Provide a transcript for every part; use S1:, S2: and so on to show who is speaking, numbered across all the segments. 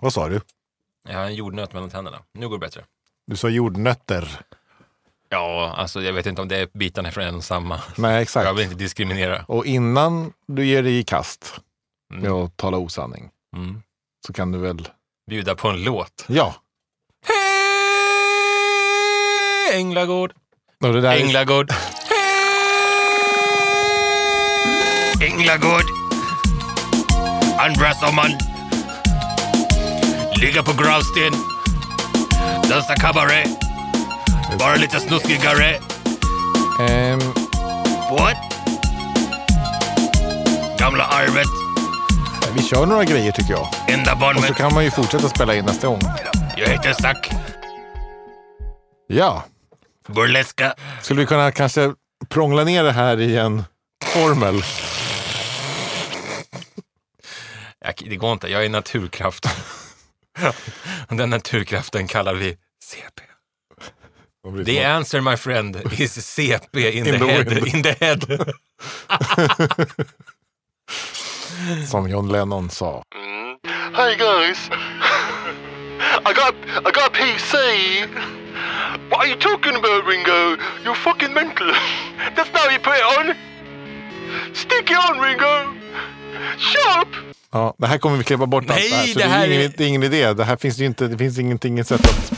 S1: Vad sa du?
S2: Jag har en jordnöt mellan tänderna. Nu går det bättre.
S1: Du sa jordnötter.
S2: Ja, alltså jag vet inte om det är bitarna från en och samma.
S1: Nej,
S2: Jag
S1: exakt.
S2: vill inte diskriminera.
S1: Och innan du ger dig i kast med
S2: Mm.
S1: att tala osanning
S2: Mm.
S1: så kan du väl...
S2: Bjuda på en låt.
S1: Ja.
S2: Hej, Änglagård!
S1: Och det där
S2: Änglagård! Hej, Änglagård! Andra sommaren. Ligga på gravsten. Dansa cabaret. Bara lite snuskigare.
S1: Ehm,
S2: What? Gamla arvet.
S1: vi kör några grejer tycker jag.
S2: Enda
S1: Och så
S2: barnet.
S1: kan man ju fortsätta spela in nästa gång.
S2: Jag heter Zack.
S1: Ja.
S2: Burleska.
S1: Skulle vi kunna kanske prångla ner det här i en formel?
S2: Jag, det går inte, jag är naturkraft. Och Den naturkraften kallar vi CP. The answer my friend is CP in, the,
S1: the
S2: head.
S1: wind.
S2: In the head.
S1: Som John Lennon sa.
S3: Hey guys, I got I got a PC. What are you talking about, Ringo? You're fucking mental. That's not how you put it on. Stick it on, Ringo. Shut up.
S1: Ja, det här kommer vi klippa bort
S2: Nej,
S1: allt det här. Så
S2: det
S1: det,
S2: här
S1: är ju
S2: är-
S1: ingen, det är ingen idé. Det här finns ju inte, det finns ingenting, inget sätt att...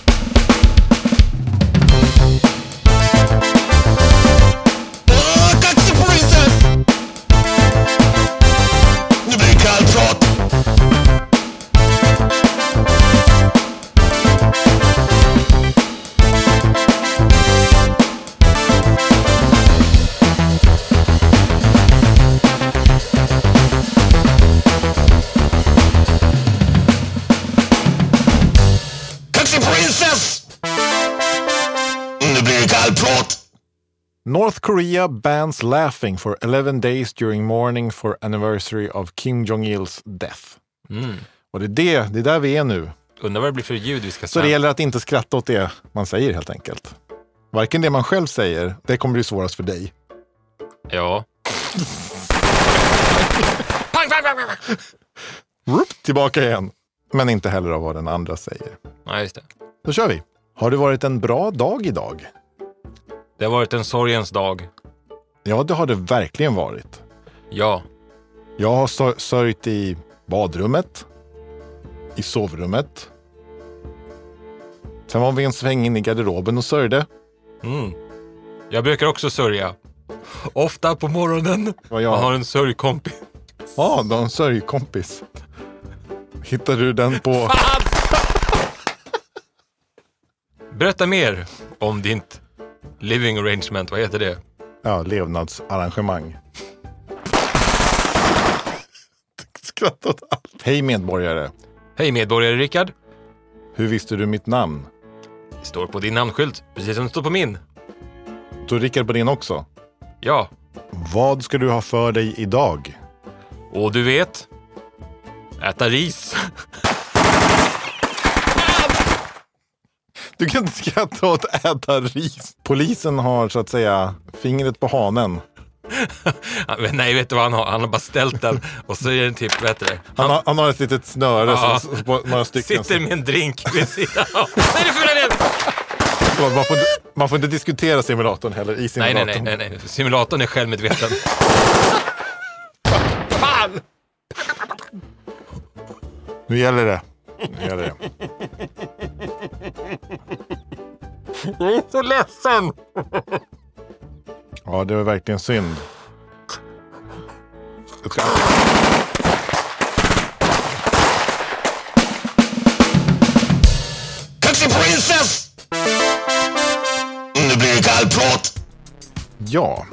S4: Kaxig polisen! Nu blir det kallprat! Kaxig prinsess! Nu blir det kallprat!
S1: North Korea bans laughing for 11 days during mourning for anniversary of Kim Jong-Ils death. Och det är, det, det är där vi är nu.
S2: Undrar vad det blir för ljud vi ska
S1: Så det
S2: säga.
S1: gäller att inte skratta åt det man säger helt enkelt. Varken det man själv säger, det kommer bli svårast för dig.
S2: Ja. pang, pang, pang, pang. pang.
S1: Rup, tillbaka igen. Men inte heller av vad den andra säger.
S2: Nej, just det.
S1: Då kör vi. Har det varit en bra dag idag?
S2: Det har varit en sorgens dag.
S1: Ja, det har det verkligen varit.
S2: Ja.
S1: Jag har sör- sörjt i badrummet, i sovrummet. Sen var vi en sväng in i garderoben och sörjde.
S2: Mm. Jag brukar också sörja. Ofta på morgonen.
S1: Vad jag-
S2: Man har en sörjkompis.
S1: Ja, du har en sörjkompis. Hittade du den på...
S2: Berätta mer om ditt living arrangement. Vad heter det?
S1: Ja, levnadsarrangemang. Skratta åt allt. Hej medborgare.
S2: Hej medborgare Rickard.
S1: Hur visste du mitt namn?
S2: Det står på din namnskylt, precis som det står på min.
S1: Tog Rickard på din också?
S2: Ja.
S1: Vad ska du ha för dig idag?
S2: Och du vet. Äta ris.
S1: Du kan inte skratta åt äta ris. Polisen har så att säga fingret på hanen.
S2: Men Nej, vet du vad han har? Han har bara ställt den och så är den typ, vad heter det?
S1: Han har, han har ett litet snöre,
S2: Ja.
S1: som, som, på några stycken.
S2: Sitter med en drink vid sidan av. Nej, du får den igen!
S1: Så Man, får inte, man får inte diskutera simulatorn heller i
S2: Nej, nej,
S1: simulatorn.
S2: nej, nej, nej. Simulatorn är självmedveten. Fan!
S1: Nu gäller det. Nu gäller det.
S2: Jag är så ledsen!
S1: Ja, det var verkligen synd. Jag ska-
S4: Kaxig prinsess! Nu blir det kallprat!
S1: Ja,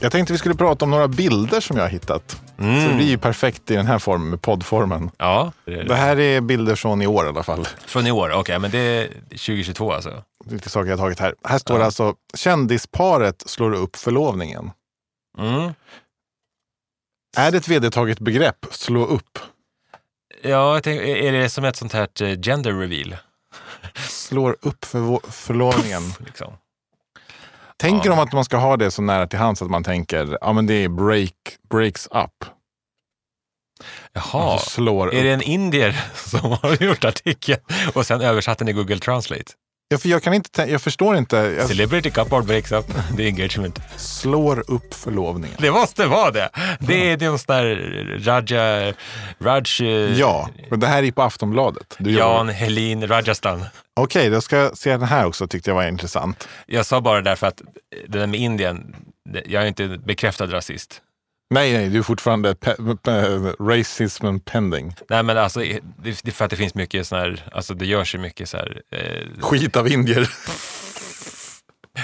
S1: jag tänkte vi skulle prata om några bilder som jag har hittat. Så det blir ju perfekt i den här formen, poddformen.
S2: Ja,
S1: Det här är bilder från i år i alla fall.
S2: från i år. Okej, men det är 2022 alltså.
S1: Lite saker jag har tagit här. Här står det alltså kändisparet slår upp förlovningen.
S2: Mm.
S1: Är det ett vedertaget begrepp, slå upp?
S2: Ja, jag tänker, är det som ett sånt här eh, gender reveal?
S1: Slår upp förvo- förlovningen.
S2: Liksom.
S1: Tänker
S2: Ja.
S1: de att man ska ha det så nära till hands att man tänker, ja men det är break, breaks up.
S2: Jaha,
S1: Så slår
S2: är
S1: upp.
S2: det en indier som har gjort artikeln och sen översatt den i Google Translate?
S1: Ja, för jag, kan inte, tän- jag förstår inte. Jag
S2: Celebrity couple breaks up the engagement.
S1: slår upp förlovningen.
S2: Det måste vara det! Det är någon sån där Raja... Raj... eh,
S1: Ja, men det här är på Aftonbladet. Du jobbar-
S2: Jan Helin Rajasthan.
S1: Okej, då ska jag se den här också. Tyckte jag var intressant.
S2: Jag sa bara därför att det där med Indien, det- jag är inte bekräftad rasist.
S1: Nej, nej, du är fortfarande pe- pe- racism and pending.
S2: Nej men alltså, det det är för att det finns mycket sån här, alltså det görs ju mycket så här, eh,
S1: Skit av indier.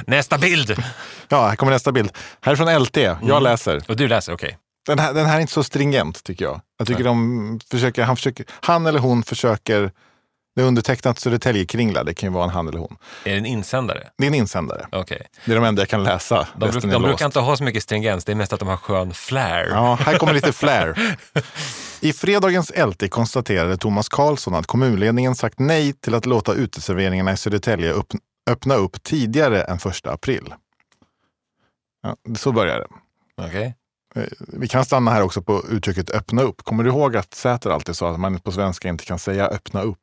S2: nästa bild! Mm.
S1: Ja, här kommer nästa bild. Här är från LT. Jag läser.
S2: Och du läser, okej.
S1: Den här, den här är inte så stringent tycker jag. Jag tycker de försöker, han, försöker, han eller hon försöker, det är undertecknat Södertäljekringla, det kan ju vara en han eller hon.
S2: Är det en insändare?
S1: Det är en insändare.
S2: Okej.
S1: Det är de enda jag kan läsa.
S2: De,
S1: Resten
S2: bruk,
S1: är
S2: de
S1: blåst.
S2: brukar inte ha så mycket stringens, det är mest att de har skön flair.
S1: Ja, här kommer lite flair. I fredagens LT konstaterade Thomas Karlsson att kommunledningen sagt nej till att låta uteserveringarna i Södertälje upp, öppna upp tidigare än 1 april. Ja, så börjar det.
S2: Okej.
S1: Eh, Vi kan stanna här också på uttrycket öppna upp. Kommer du ihåg att Säter alltid sa att man på svenska inte kan säga öppna upp?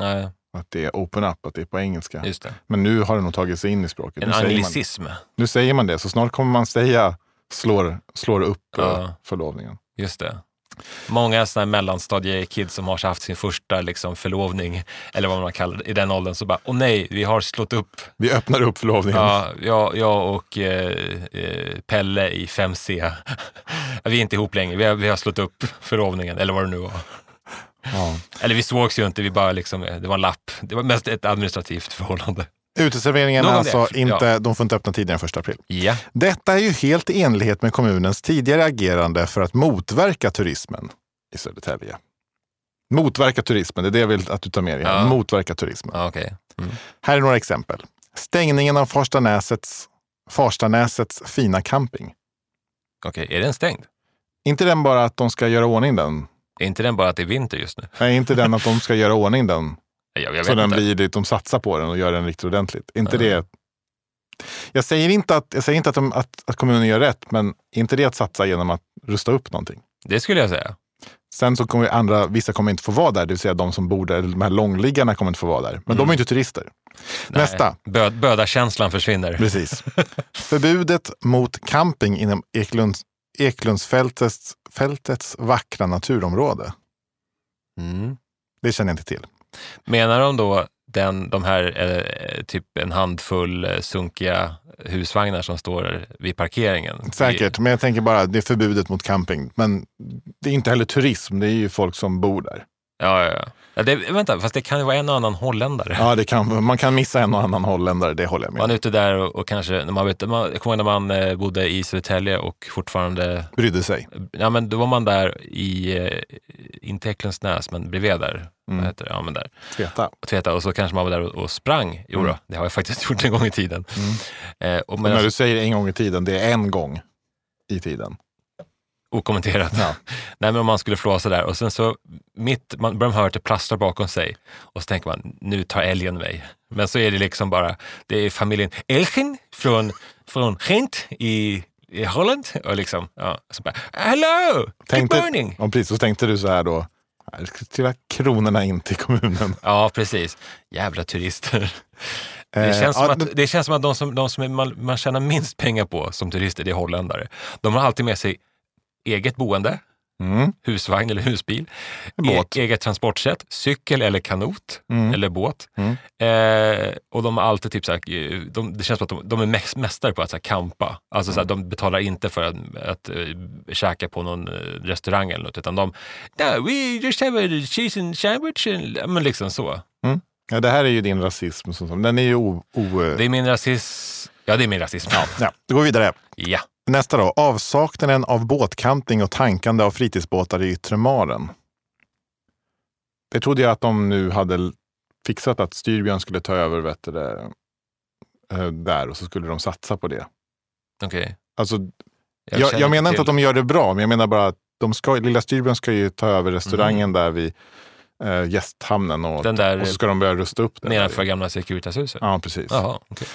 S2: Ja,
S1: Att det är open up, att det är på engelska.
S2: just det.
S1: Men nu har det nog tagit sig in i språket.
S2: En
S1: Nu säger, man,
S2: anglicism.
S1: nu säger man det, så snart kommer man säga slår, slår upp
S2: Ja.
S1: eh, förlovningen.
S2: Just det. Många sådana här mellanstadiekids som har så haft sin första liksom förlovning, eller vad man kallar det, i den åldern, så bara, åh nej, vi har slått upp.
S1: Vi öppnar upp förlovningen.
S2: Ja, jag, jag och eh, eh, Pelle i 5C, vi är inte ihop längre, vi har, vi har slått upp förlovningen, eller vad det nu var.
S1: Ja.
S2: Eller vi sågs ju inte, vi bara liksom, eh, det var en lapp. Det var mest ett administrativt förhållande.
S1: Uteserveringarna
S2: Någon
S1: alltså
S2: där.
S1: inte, de får inte öppna tidigare än 1 april.
S2: Ja.
S1: Detta är ju helt i enlighet med kommunens tidigare agerande för att motverka turismen i Södertälje. Motverka turismen, det är det jag vill att du tar med dig. här.
S2: Ja.
S1: Motverka turismen.
S2: Ja, okej.
S1: Här är några exempel. Stängningen av Farstanäsets, Farstanäsets fina camping.
S2: Okej, är den stängd?
S1: Inte den bara att de ska göra ordning den.
S2: Är inte den bara att det är vinter just nu?
S1: Nej, inte den att de ska göra ordning den.
S2: Jag, jag vet
S1: Så den
S2: inte.
S1: blir det, de satsar på den och gör den riktigt ordentligt. Inte
S2: Ja.
S1: det. Jag säger inte, att, jag säger inte att, de, att, att kommunen gör rätt, men inte det att satsa genom att rusta upp någonting.
S2: Det skulle jag säga.
S1: Sen så kommer andra, vissa kommer inte få vara där, det vill säga de som bor där, eller de här långliggarna kommer inte få vara där. Men de är inte turister.
S2: Mm. Nej.
S1: Nästa.
S2: Bö, bödakänslan försvinner.
S1: Precis. Förbudet mot camping inom Eklunds, Eklundsfältets fältets vackra naturområde.
S2: Mm.
S1: Det känner jag inte till.
S2: Menar de då den, de här eh, typ en handfull eh, sunkiga husvagnar som står vid parkeringen?
S1: Säkert, men jag tänker bara det är förbudet mot camping. Men det är inte heller turism, det är ju folk som bor där.
S2: Ja, ja, ja. ja det, vänta, fast det kan ju vara en och annan holländare.
S1: Ja, det kan, man kan missa en och annan holländare, det håller jag med
S2: Man
S1: om.
S2: är ute där och, och kanske, när man, vet, man, jag kommer ihåg när man eh, bodde i Södertälje och fortfarande
S1: Brydde sig.
S2: Ja, men då var man där i, eh, inte Häcklundsnäs, men bredvid där.
S1: Mm.
S2: Vad heter det? Ja, men där.
S1: Tveta.
S2: Och, tveta, och så kanske man var där och, och sprang. Jo
S1: Mm.
S2: då, det har jag faktiskt gjort en gång i tiden. Eh, och men,
S1: När du säger en gång i tiden, det är en gång i tiden.
S2: Okommenterat. Nej, men om man skulle flåsa där och sen så mitt, man börjar höra att det plastrar bakom sig och så tänker man, nu tar älgen mig. Men så är det liksom bara, det är familjen Elchen från, från Gent i, i Holland. Och liksom, ja, så bara, hello,
S1: Tänkte-
S2: good morning.
S1: Ja, precis. Så tänkte du så här då, här ska trilla kronorna in till kommunen.
S2: Ja, precis. Jävla turister. Det
S1: Eh,
S2: känns, som
S1: ja,
S2: att, det känns som att de som, de som man, man tjänar minst pengar på som turister, det är holländare. De har alltid med sig eget boende,
S1: Mm.
S2: husvagn eller husbil,
S1: Båt.
S2: E eget transportsätt, cykel eller kanot eller båt.
S1: Mm.
S2: Eh, och de har alltid typ så här, eh, de, det känns som att de, de är mäst, mästare på att så här, campa. Alltså så här,
S1: Mm.
S2: de betalar inte för att, att eh, käka på någon eh, restaurang eller något, utan de, no, we just have a cheese and sandwich, and, ja, men liksom så.
S1: Ja, det här är ju din rasism. som- som- Den är ju o... o
S2: Det är min rasism. Ja, det är min rasism. Ja.
S1: ja, då går vi vidare.
S2: ja.
S1: Nästa då. Avsaknaden av båtcamping och tankande av fritidsbåtar i yttre maren. Det trodde jag att de nu hade l- fixat att Styrbjörn skulle ta över vet du, det, eh, där och så skulle de satsa på det.
S2: Okej.
S1: Alltså, jag, jag menar inte att de gör det bra, men jag menar bara att de ska, Lilla Styrbjörn ska ju ta över restaurangen där vid eh, gästhamnen och,
S2: Den där
S1: och så ska de börja rusta upp det.
S2: nedanför gamla Securitashuset?
S1: Ja, precis.
S2: Jaha, okej.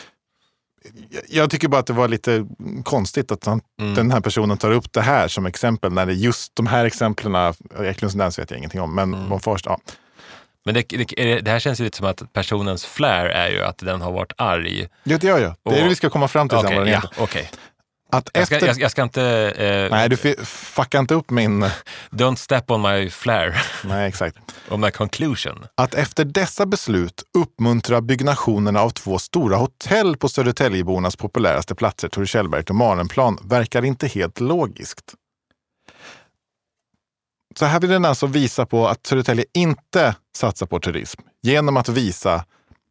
S1: jag- jag tycker bara att det var lite konstigt att han,
S2: Mm.
S1: den här personen tar upp det här som exempel när det just de här exemplen, Eklunds dans vet jag ingenting om, men mm. först, ja.
S2: Men det, det, är det- det här känns ju lite som att personens flair är ju att den har varit arg.
S1: Det gör jag. Det är det vi ska komma fram till sen.
S2: Okej,
S1: vad den
S2: ja,
S1: heter.
S2: okej.
S1: Att
S2: jag, ska,
S1: efter...
S2: jag, jag ska inte... Eh,
S1: Nej, du fi- fucka inte upp min...
S2: Don't step on my flair.
S1: Nej, exakt.
S2: on my conclusion.
S1: Att efter dessa beslut uppmuntra byggnationerna av två stora hotell på Södertäljebornas populäraste platser, Torre Källberget och Marenplan, verkar inte helt logiskt. Så här vill den alltså visa på att Södertälje inte satsar på turism genom att visa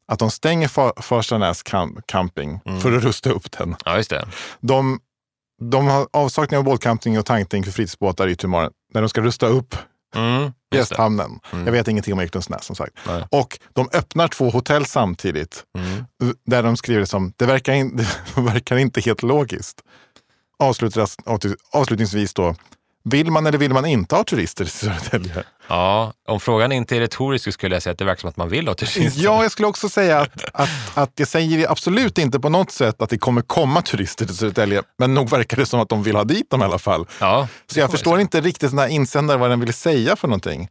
S1: att de stänger Fa- Farstanäs cam- camping för att rusta upp den.
S2: Ja, just det.
S1: De, de har avsaknad av båtcamping och tankning för fritidsbåtar i Tumaren när de ska rusta upp
S2: Mm, just det. Mm.
S1: Gästhamnen. Jag vet ingenting om Eklundsnäs som sagt.
S2: Nej. Mm.
S1: Och de öppnar två hotell samtidigt. Där de skriver det som, det verkar, in, det verkar inte helt logiskt. Avslutas, avslutningsvis då, vill man eller vill man inte ha turister i Södertälje?
S2: Ja, om frågan inte är retorisk så skulle jag säga att det verkar som att man vill ha turister.
S1: Ja, jag skulle också säga att, att, att jag säger absolut inte på något sätt att det kommer komma turister till Södertälje. Men nog verkar det som att de vill ha dit dem i alla fall.
S2: Ja,
S1: Så jag förstår inte riktigt den här insändaren, vad den vill säga för någonting.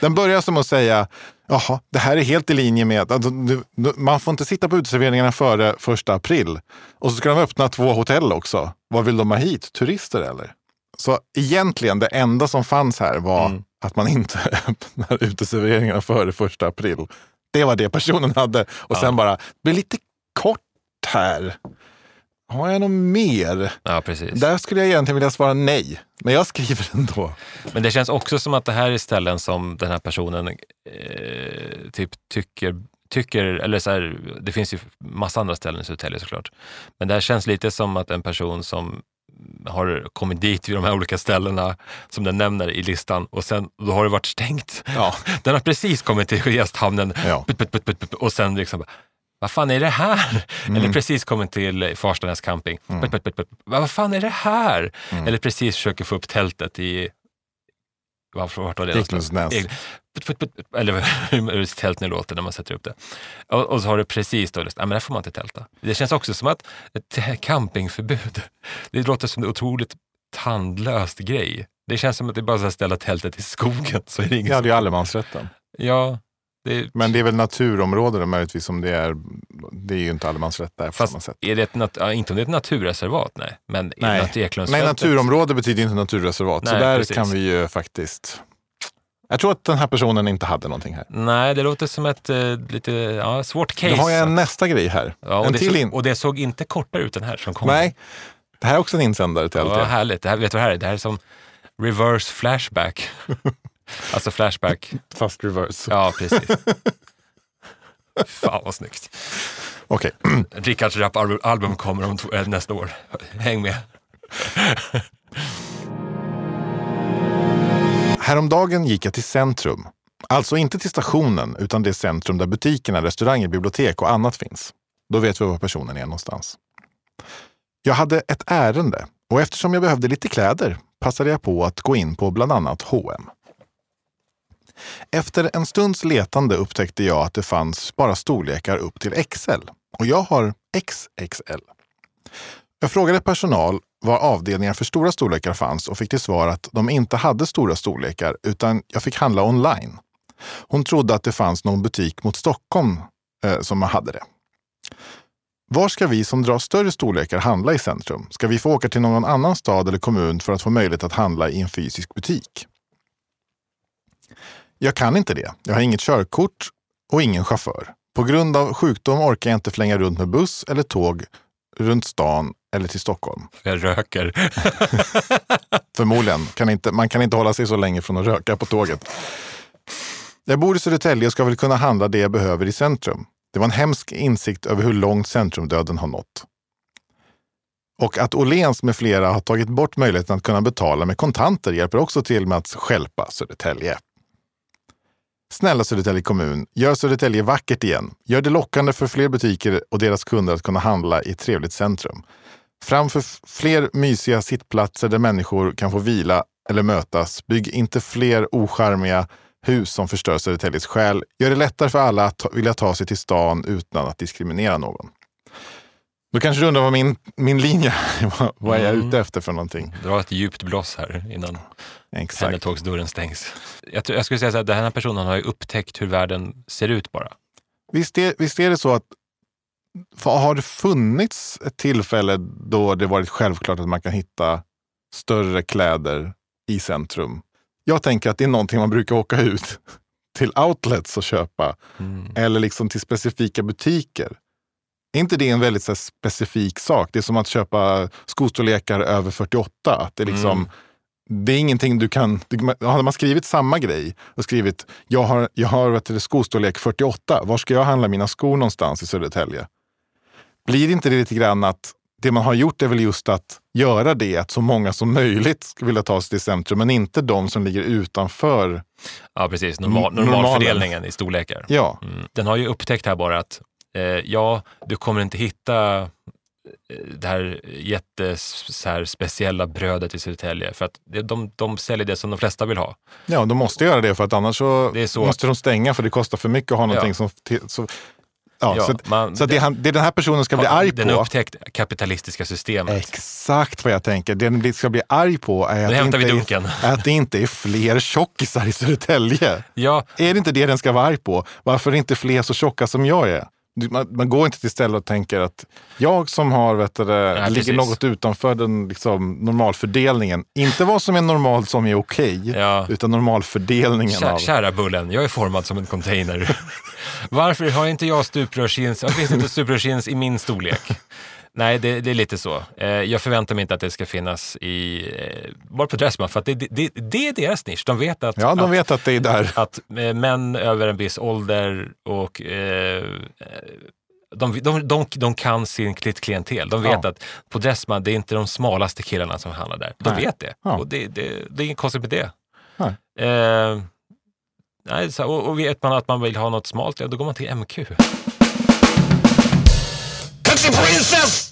S1: Den börjar som att säga, jaha, det här är helt i linje med, alltså, du, du, man får inte sitta på uteserveringarna före första april. Och så ska de öppna två hotell också. Vad vill de ha hit? Turister eller? Så egentligen, det enda som fanns här var att man inte öppnar uteserveringarna före första april. Det var det personen hade. Och sen bara, det blir lite kort här. Har jag något mer?
S2: ja precis.
S1: Där skulle jag egentligen vilja svara nej, men jag skriver ändå.
S2: Men det känns också som att det här är ställen som den här personen eh, typ tycker, tycker eller så här, det finns ju massa andra ställen i Södertälje såklart. Men det här känns lite som att en person som har kommit dit vid de här olika ställena som den nämner i listan och sen då har det varit stängt.
S1: Ja.
S2: Den har precis kommit till gästhamnen
S1: Ja.
S2: put, put, put, put, put, och sen liksom bara, vad fan är det här?
S1: Mm.
S2: Eller precis kommit till Farstanäs camping. Put, put, put, put. Vad fan är det här?
S1: Mm.
S2: Eller precis försöker få upp tältet i varför, vart var det någonstans?
S1: Eklundsnäs.
S2: Egl- put, put, put, put. Eller hur tält nu låter när man sätter upp det. Och, och så har du precis då, lyssnat, nej men där får man inte tälta. Det känns också som att ett campingförbud, det låter som en otroligt tandlöst grej. Det känns som att det är bara är att ställa tältet i skogen så är det ingen
S1: Ja,
S2: som-
S1: det är ju allemansrätten.
S2: Ja, det,
S1: Men det är väl naturområden då, möjligtvis som det är. Det är ju inte allemansrätt där på samma
S2: fast
S1: sätt.
S2: är det ett nat- ja, inte om det är ett naturreservat, nej. Men nej. Nat-
S1: Nej,
S2: Eklundsfältet-
S1: naturområde betyder ju inte naturreservat. så
S2: Nej,
S1: där
S2: precis.
S1: kan vi ju faktiskt... Jag tror att den här personen inte hade någonting här.
S2: Nej, det låter som ett eh, lite ja, svårt case.
S1: Nu har jag en nästa grej här.
S2: ja, och,
S1: en
S2: det
S1: till
S2: såg,
S1: in.
S2: och det såg inte kortare ut den här som kom.
S1: Nej, det här är också en insändare till
S2: det
S1: LT.
S2: var härligt. Det här, vet du vad det här är? Det här är som reverse flashback. alltså flashback.
S1: Fast reverse.
S2: Ja, precis. Fan vad snyggt.
S1: Okej.
S2: Rickards rapalbum kommer om tw- eh, nästa år. Häng med.
S1: Häromdagen gick jag till centrum. Alltså inte till stationen, utan det centrum där butikerna, restauranger, bibliotek och annat finns. Då vet vi var personen är någonstans. Jag hade ett ärende och eftersom jag behövde lite kläder passade jag på att gå in på bland annat H&M. Efter en stunds letande upptäckte jag att det fanns bara storlekar upp till XL och jag har XXL. Jag frågade personal var avdelningar för stora storlekar fanns och fick till svar att de inte hade stora storlekar utan jag fick handla online. Hon trodde att det fanns någon butik mot Stockholm eh, som hade det. Var ska vi som drar större storlekar handla i centrum? Ska vi få åka till någon annan stad eller kommun för att få möjlighet att handla i en fysisk butik? Jag kan inte det. Jag har inget körkort och ingen chaufför. På grund av sjukdom orkar jag inte flänga runt med buss eller tåg runt stan eller till Stockholm.
S2: Jag röker.
S1: Förmodligen. Kan inte, man kan inte hålla sig så länge från att röka på tåget. Jag bor i Södertälje och ska väl kunna handla det jag behöver i centrum. Det var en hemsk insikt över hur långt centrumdöden har nått. Och att Åhléns med flera har tagit bort möjligheten att kunna betala med kontanter hjälper också till med att stjälpa Södertälje. Snälla Södertälje kommun, gör Södertälje vackert igen. Gör det lockande för fler butiker och deras kunder att kunna handla i ett trevligt centrum framför f- fler mysiga sittplatser där människor kan få vila eller mötas. Bygg inte fler ocharmiga hus som förstör Södertäljes själ. Gör det lättare för alla att ta, vilja ta sig till stan utan att diskriminera någon. Då kanske du undrar vad min, min linje vad- vad är jag
S2: Mm.
S1: ute efter för någonting.
S2: Dra ett djupt blås här innan
S1: Exakt.
S2: pendeltågsdörren stängs. Jag, tror- jag skulle säga så här, den här personen har ju upptäckt hur världen ser ut bara.
S1: Visst är, visst är det så att fa- har det funnits ett tillfälle då det varit självklart att man kan hitta större kläder i centrum? Jag tänker att det är någonting man brukar åka ut till outlets och köpa
S2: Mm.
S1: eller liksom till specifika butiker. Är inte det en väldigt så här, specifik sak? Det är som att köpa skostorlekar över 48. Att det, är liksom, det är ingenting du kan... du- Hade man skrivit samma grej och skrivit jag har, jag har vet du, skostorlek 48, var ska jag handla mina skor någonstans i Södertälje? Blir inte det lite grann att det man har gjort är väl just att göra det, att så många som möjligt skulle vilja ta sig till centrum, men inte de som ligger utanför.
S2: Ja, precis. Normal,
S1: Normalen.
S2: normalfördelningen i storlekar.
S1: Ja,
S2: Mm. Den har ju upptäckt här bara att eh, ja, du kommer inte hitta eh, det här jättes, så här speciella brödet i Södertälje för att det, de, de säljer det som de flesta vill ha.
S1: ja de måste göra det för att annars så,
S2: Det är så.
S1: måste de stänga för det kostar för mycket att ha någonting som... till- Så, ja,
S2: Ja,
S1: så att,
S2: man-
S1: så att det, han, det den här personen ska bli
S2: Ja,
S1: arg
S2: den har
S1: på,
S2: upptäckt kapitalistiska systemet.
S1: exakt vad jag tänker, det den ska bli arg på är att det,
S2: hämtar
S1: inte
S2: vi
S1: är,
S2: dunken.
S1: är att det inte är fler tjockisar i Södertälje.
S2: Ja,
S1: Är det inte det den ska vara arg på? Varför är inte fler så tjocka som jag är? Du- Man, man går inte till stället och tänker att jag som har, vet du, det, ligger
S2: precis.
S1: något utanför den liksom, normalfördelningen. Inte vad som är normalt som är okej,
S2: Ja.
S1: utan normalfördelningen.
S2: Kä-
S1: av...
S2: Kära Bullen, jag är formad som en container. Varför har inte jag stuprörsjeans? Varför finns det inte stuprörsjeans i min storlek? Nej, det, det är lite så. Eh, jag förväntar mig inte att det ska finnas i... Eh, bara på Dressman, för att det, det, det är deras nisch. De vet att,
S1: Ja, de
S2: att,
S1: vet att det är där.
S2: att eh, män över en viss ålder och... Eh, eh, de, de, de, de kan sin klit- klientel. De vet
S1: Ja.
S2: att på Dressman, det är inte de smalaste killarna som handlar där. De
S1: Nej.
S2: vet det.
S1: Ja.
S2: Och det, det, det är inget konstigt med det.
S1: Nej.
S2: Eh, nej, så, och, och vet man att man vill ha något smalt, ja, då går man till MQ.
S4: Kaxig prinsess!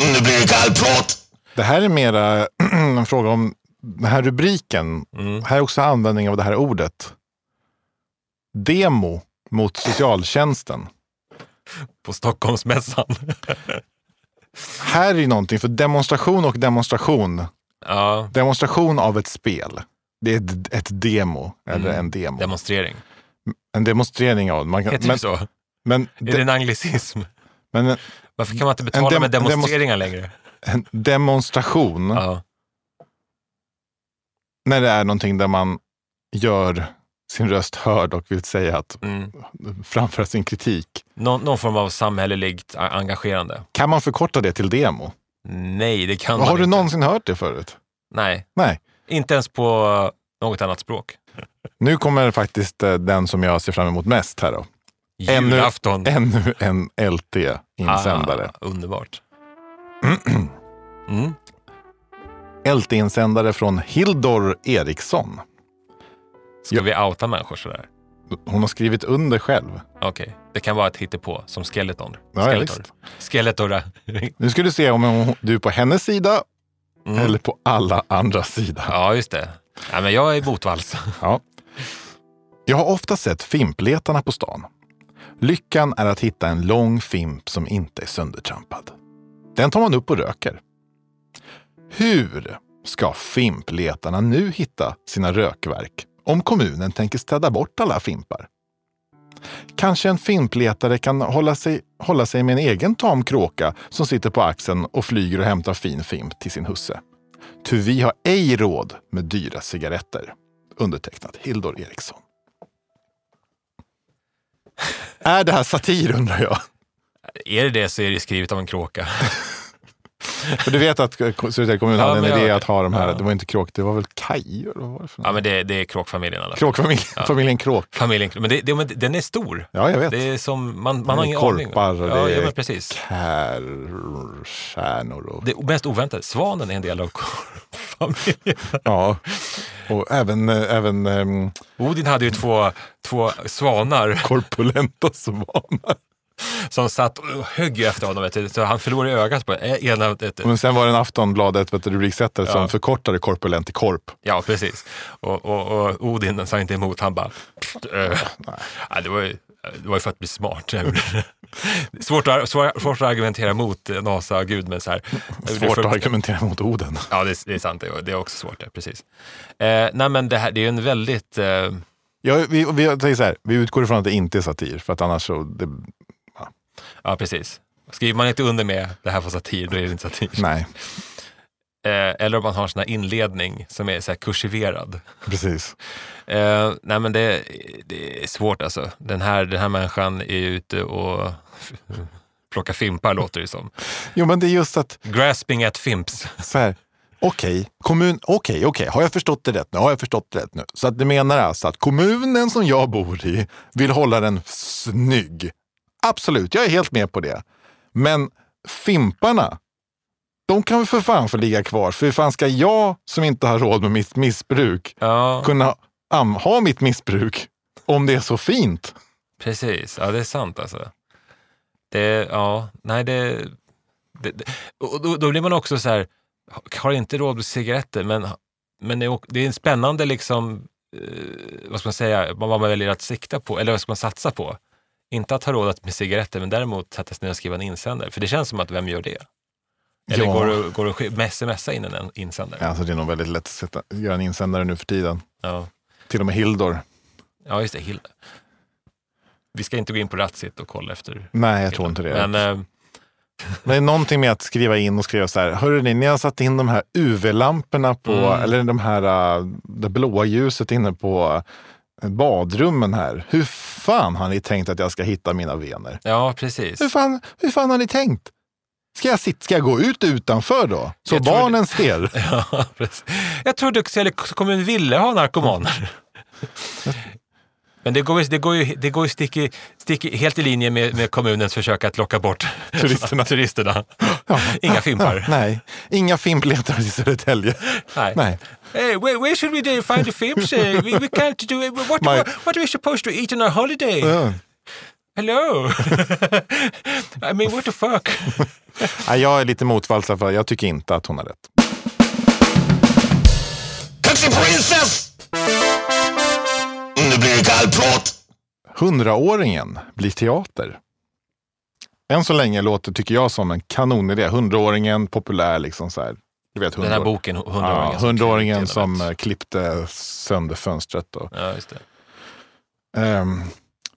S4: Nu blir det kallprat.
S1: Det här är mera en fråga om den här rubriken.
S2: Mm.
S1: Här är också användning av det här ordet. Demo mot socialtjänsten.
S2: På Stockholmsmässan.
S1: Här är ju någonting, för demonstration och demonstration.
S2: ja,
S1: Demonstration av ett spel. Det är ett, ett demo, eller
S2: Mm.
S1: en demo.
S2: demonstrering.
S1: en demonstrering av det. Man
S2: Heter
S1: kan,
S2: men,
S1: men,
S2: det så? Är
S1: men,
S2: det
S1: de,
S2: en anglicism?
S1: men en,
S2: Varför kan man inte betala
S1: dem-
S2: med
S1: en demo-
S2: demonstreringar längre?
S1: en demonstration,
S2: Ja.
S1: när det är någonting där man gör sin röst hörd och vill säga att
S2: Mm.
S1: framföra sin kritik.
S2: Någon, någon form av samhälleligt a- engagerande.
S1: Kan man förkorta det till demo?
S2: Nej, det kan man
S1: Har du
S2: inte.
S1: någonsin hört det förut?
S2: Nej,
S1: Nej.
S2: inte ens på något annat språk.
S1: Nu kommer faktiskt eh, den som jag ser fram emot mest här då. Ännu-
S2: Julafton.
S1: Ännu en LT-insändare.
S2: Ah, underbart. Mm. Ah.
S1: LT-insändare från Hildor Eriksson.
S2: Ska
S1: Ja.
S2: vi outa människor sådär?
S1: Hon har skrivit under själv.
S2: Okej, det kan vara ett hittepå, som Skeleton.
S1: Ja, ja,
S2: Skeletor.
S1: visst.
S2: Skeletor.
S1: Nu ska du se om hon- du är på hennes sida
S2: Mm.
S1: eller på alla andra sida.
S2: Ja, just det. Ja, men jag är botvalls.
S1: Ja. Jag har ofta sett fimpletarna på stan. Lyckan är att hitta en lång fimp som inte är söndertrampad. Den tar man upp och röker. Hur ska fimpletarna nu hitta sina rökverk om kommunen tänker städa bort alla fimpar? Kanske en fimpletare kan hålla sig, hålla sig med en egen tam kråka som sitter på axeln och flyger och hämtar fin fimp till sin husse. Ty vi har ej råd med dyra cigaretter. Undertecknat Hildor Eriksson. Är det här satir undrar jag?
S2: är det det så är det skrivet av en kråka.
S1: För du vet att Södertälje kommun
S2: Ja,
S1: hade en
S2: men jag-
S1: idé att ha de här,
S2: ja.
S1: det var inte kråk, det var väl kajor? Vad var det för
S2: Ja,
S1: något?
S2: men det, det är kråkfamiljen i alla fall.
S1: Kråkfamiljen, familjen Kråk.
S2: Familjen, men, det, det, men den är stor.
S1: Ja, jag vet.
S2: Det är som, man, man
S1: Det
S2: har
S1: är
S2: ingen
S1: korpar
S2: aning.
S1: och
S2: Ja,
S1: det
S2: ja,
S1: är
S2: men precis.
S1: Kärrstjärnor och...
S2: Det mest oväntade, svanen är en del av korpfamiljen.
S1: Ja. Och även, eh, även ehm,
S2: Odin hade ju två, två svanar.
S1: korpulenta svanar.
S2: som satt och högg ju efter honom. Vet du. Så han förlorade ögat på ena... Ett,
S1: Men sen var det en Aftonbladet vet du, rubriksättare
S2: Ja.
S1: som förkortade korpulent till korp.
S2: ja, precis. Och, och, och Odin sa inte emot. Han bara... "Pst, eh." Ja, det, var ju, det var ju för att bli smart. jag gjorde det. svårt, att, svår, svårt att argumentera mot eh, Nasa och Gud, men så här... jag gjorde det
S1: Svårt
S2: för-
S1: att argumentera mot Oden.
S2: Ja, det är, det är sant. Det är- Det är också svårt, ja, precis. Eh, nej, men det här det är ju en väldigt... Eh,
S1: Ja, vi, vi, jag säger så här, vi utgår ifrån att det inte är satir, för att annars så... Det,
S2: ja, precis. Skriver man inte under med det här var satir, då är det inte satir.
S1: nej,
S2: Eh, eller om man har en sån här inledning som är så här kursiverad.
S1: precis.
S2: Eh, nej men det, det är svårt alltså. Den här, den här människan är ute och plockar fimpar låter det som.
S1: Jo, men det är just att
S2: Grasping at fimps.
S1: så här, okej, kommun, okej, okej, har jag förstått det rätt nu? Har jag förstått det rätt nu? Så att det menar alltså att kommunen som jag bor i vill hålla den snygg. Absolut, jag är helt med på det. Men fimparna, de kan väl för fan få ligga kvar. För hur fan ska jag som inte har råd med mitt missbruk
S2: Ja,
S1: kunna am, ha mitt missbruk om det är så fint?
S2: precis. Ja, det är sant alltså. Det, ja, nej det... det, det och då, då blir man också så här, har inte råd med cigaretter, men, men det, är, ock- det är en spännande liksom, eh, vad ska man säga, vad man väljer att sikta på, eller vad ska man satsa på? Inte att ha råd att- med cigaretter, men däremot sätta sig ner och skriva en insändare. För det känns som att vem gör det? Eller
S1: Ja.
S2: går du går du och sk- smsa in en insändare?
S1: Alltså det är nog väldigt lätt att sätta, göra en insändare nu för tiden.
S2: Ja.
S1: Till och med Hildor.
S2: Ja, just det. Hilda. Vi ska inte gå in på Ratsit och kolla efter.
S1: Nej, jag tror inte det.
S2: Men, eh,
S1: Det är någonting med att skriva in och skriva så här. Hörru ni, ni har satt in de här UV-lamporna på,
S2: Mm.
S1: eller de här, äh, det blåa ljuset inne på äh, badrummen här. Hur fan har ni tänkt att jag ska hitta mina vener?
S2: ja, precis.
S1: Hur fan, hur fan har ni tänkt? Ska jag, sitta, ska jag gå ut utanför då? Så
S2: Jag tror det-
S1: barnen ser?
S2: Ja, precis. Jag tror Duxelle kommun ville ha narkomaner. Men det går, ju- det går ju, det går ju stick i, stick i, helt i linje med, med kommunens försök att locka bort
S1: Turisterna.
S2: turisterna. Inga fimpar.
S1: Nej, inga fimpletare i Södertälje.
S2: Nej.
S1: Nej.
S2: Hey, where, where should we do- find the fimps? Eh, We, we can't do it. What,
S1: My-
S2: what, what are we supposed to eat on our holiday?
S1: Ja.
S2: Hello! I mean, what the fuck?
S1: Nej, jag är lite motvalls i alla fall. Jag tycker inte att hon har rätt.
S4: Kaxig prinsess! Nu blir det kallprat.
S1: Hundraåringen blir teater. Än så länge låter, tycker jag, som en kanonidé. Hundraåringen, populär liksom så här. Du vet,
S2: Den här
S1: hundraår-
S2: boken, Hundraåringen.
S1: Ja,
S2: som
S1: hundraåringen
S2: klippte
S1: som
S2: genom ett-
S1: eh, klippte sönder fönstret. Och,
S2: Ja, just det.
S1: Ehm,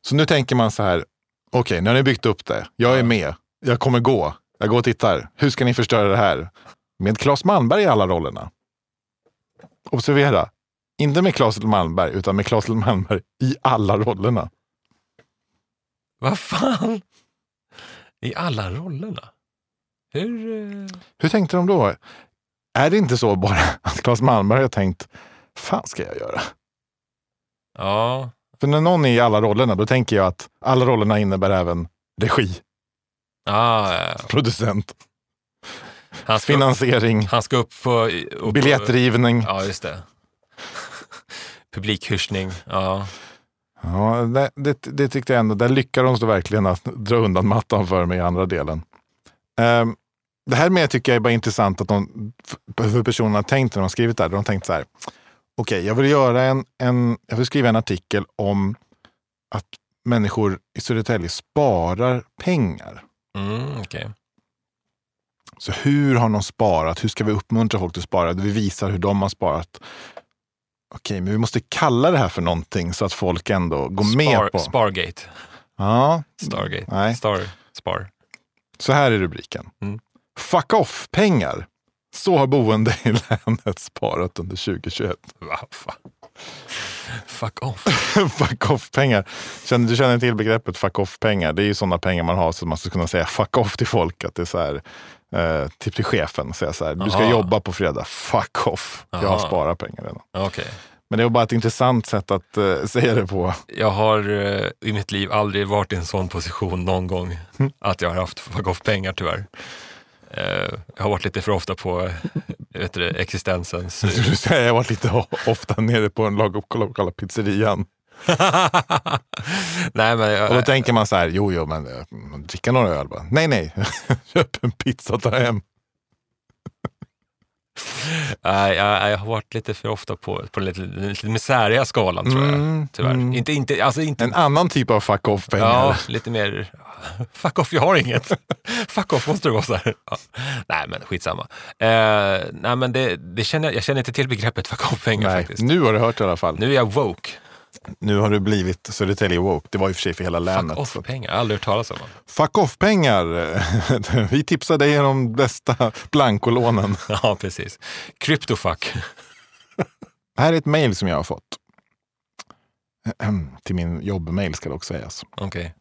S1: så nu tänker man så här, okej, nu har ni byggt upp det. Jag är med. Jag kommer gå. Jag går och tittar. Hur ska ni förstöra det här? Med Claes Malmberg i alla rollerna. Observera, inte med Claes Malmberg, utan med Claes Malmberg i alla rollerna.
S2: Vad fan? I alla rollerna? Hur... eh,
S1: Hur tänkte de då? Är det inte så bara att Claes Malmberg har tänkt, fan ska jag göra?
S2: Ja,
S1: För när någon är i alla rollerna, då tänker jag att alla rollerna innebär även regi,
S2: ah, ja, ja.
S1: producent,
S2: han, ska,
S1: finansiering,
S2: han ska upp på... Upp,
S1: biljettrivning.
S2: Ja, just det. Publikhyschning. Ja.
S1: Ja, det, det, det tyckte jag ändå, där lyckades de verkligen att dra undan mattan för mig i andra delen. Ehm, det här med tycker jag är bara intressant att de, för- hur personerna har tänkt när de har skrivit det här. De har tänkt så här, okej, jag vill göra en, en, jag vill skriva en artikel om att människor i Södertälje sparar pengar.
S2: Mm, okej.
S1: Så hur har någon sparat? Hur ska vi uppmuntra folk att spara? Vi visar hur de har sparat. Okej, men vi måste kalla det här för någonting så att folk ändå går med
S2: Spar,
S1: på.
S2: Spargate.
S1: Ja,
S2: Stargate.
S1: Nej.
S2: Star. Spar.
S1: Så här är rubriken.
S2: Mm.
S1: Fuck off-pengar. Så har boende i länet sparat under 2021.
S2: Va, fa. Fuck off.
S1: fuck off-pengar. Känner- Du känner till begreppet fuck off-pengar. Det är ju sådana pengar man har så att man skulle kunna säga fuck off till folk. Att det är så här, eh, typ till chefen, säga så här, du ska
S2: Aha.
S1: jobba på fredag. Fuck off. Jag har
S2: Aha.
S1: sparat pengar redan.
S2: Okej.
S1: Men det var bara ett intressant sätt att eh, säga det på.
S2: Jag har eh, i mitt liv aldrig varit i en sån position någon gång
S1: Mm.
S2: att jag har haft fuck off-pengar tyvärr. Eh, jag har varit lite för ofta på eh, vet du, det, existensens...
S1: Jag skulle säga, Jag har varit lite o- ofta nere på en lag och kolla, kolla pizzerian.
S2: Nej, men jag,
S1: Och då tänker man så här, jo, jo, men eh, dricka några öl bara. Nej, nej, köp en pizza och ta hem.
S2: nej, jag, jag har varit lite för ofta på, på den lite, lite misäriga skalan tror jag.
S1: Mm,
S2: Tyvärr.
S1: mm.
S2: Inte, inte, alltså inte
S1: En annan typ av fuck off-pengar.
S2: Ja, lite mer fuck off, jag har inget. fuck off måste det vara så här. Ja. Nej, men skitsamma. Eh, nej, men det, det känner, jag- jag känner inte till begreppet fuck off-pengar
S1: nej,
S2: faktiskt.
S1: nu har du hört i alla fall. Nu,
S2: Nu är jag woke.
S1: har du blivit Södertälje woke. Det var i och för sig för hela länet.
S2: Fuck off-pengar, jag har aldrig hört talas om.
S1: Fuck off-pengar! Vi tipsar dig om de bästa blankolånen.
S2: Ja, precis. Kryptofuck.
S1: Här är ett mejl som jag har fått. Till min jobbmejl ska det också sägas.
S2: Okej.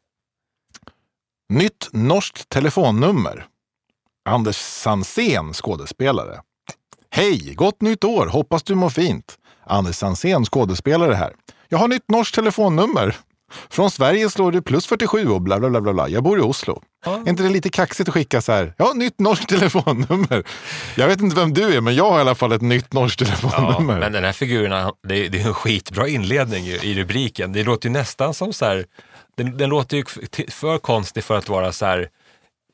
S1: Nytt norskt telefonnummer. Anders Sansén, skådespelare. Hej! Gott nytt år! Hoppas du mår fint. Anders Sansén, skådespelare här. Jag har nytt norskt telefonnummer. Från Sverige slår du plus 47 och bla bla bla bla. bla. Jag bor i Oslo.
S2: Ja.
S1: Är inte det lite kaxigt att skicka så här? Jag har nytt norskt telefonnummer. Jag vet inte vem du är, men jag har i alla fall ett nytt norskt
S2: Ja,
S1: telefonnummer.
S2: men den här figuren, han- det är, det är en skitbra inledning ju, i rubriken. Det låter ju nästan som så här, den, den låter ju f- t- för konstig för att vara så här,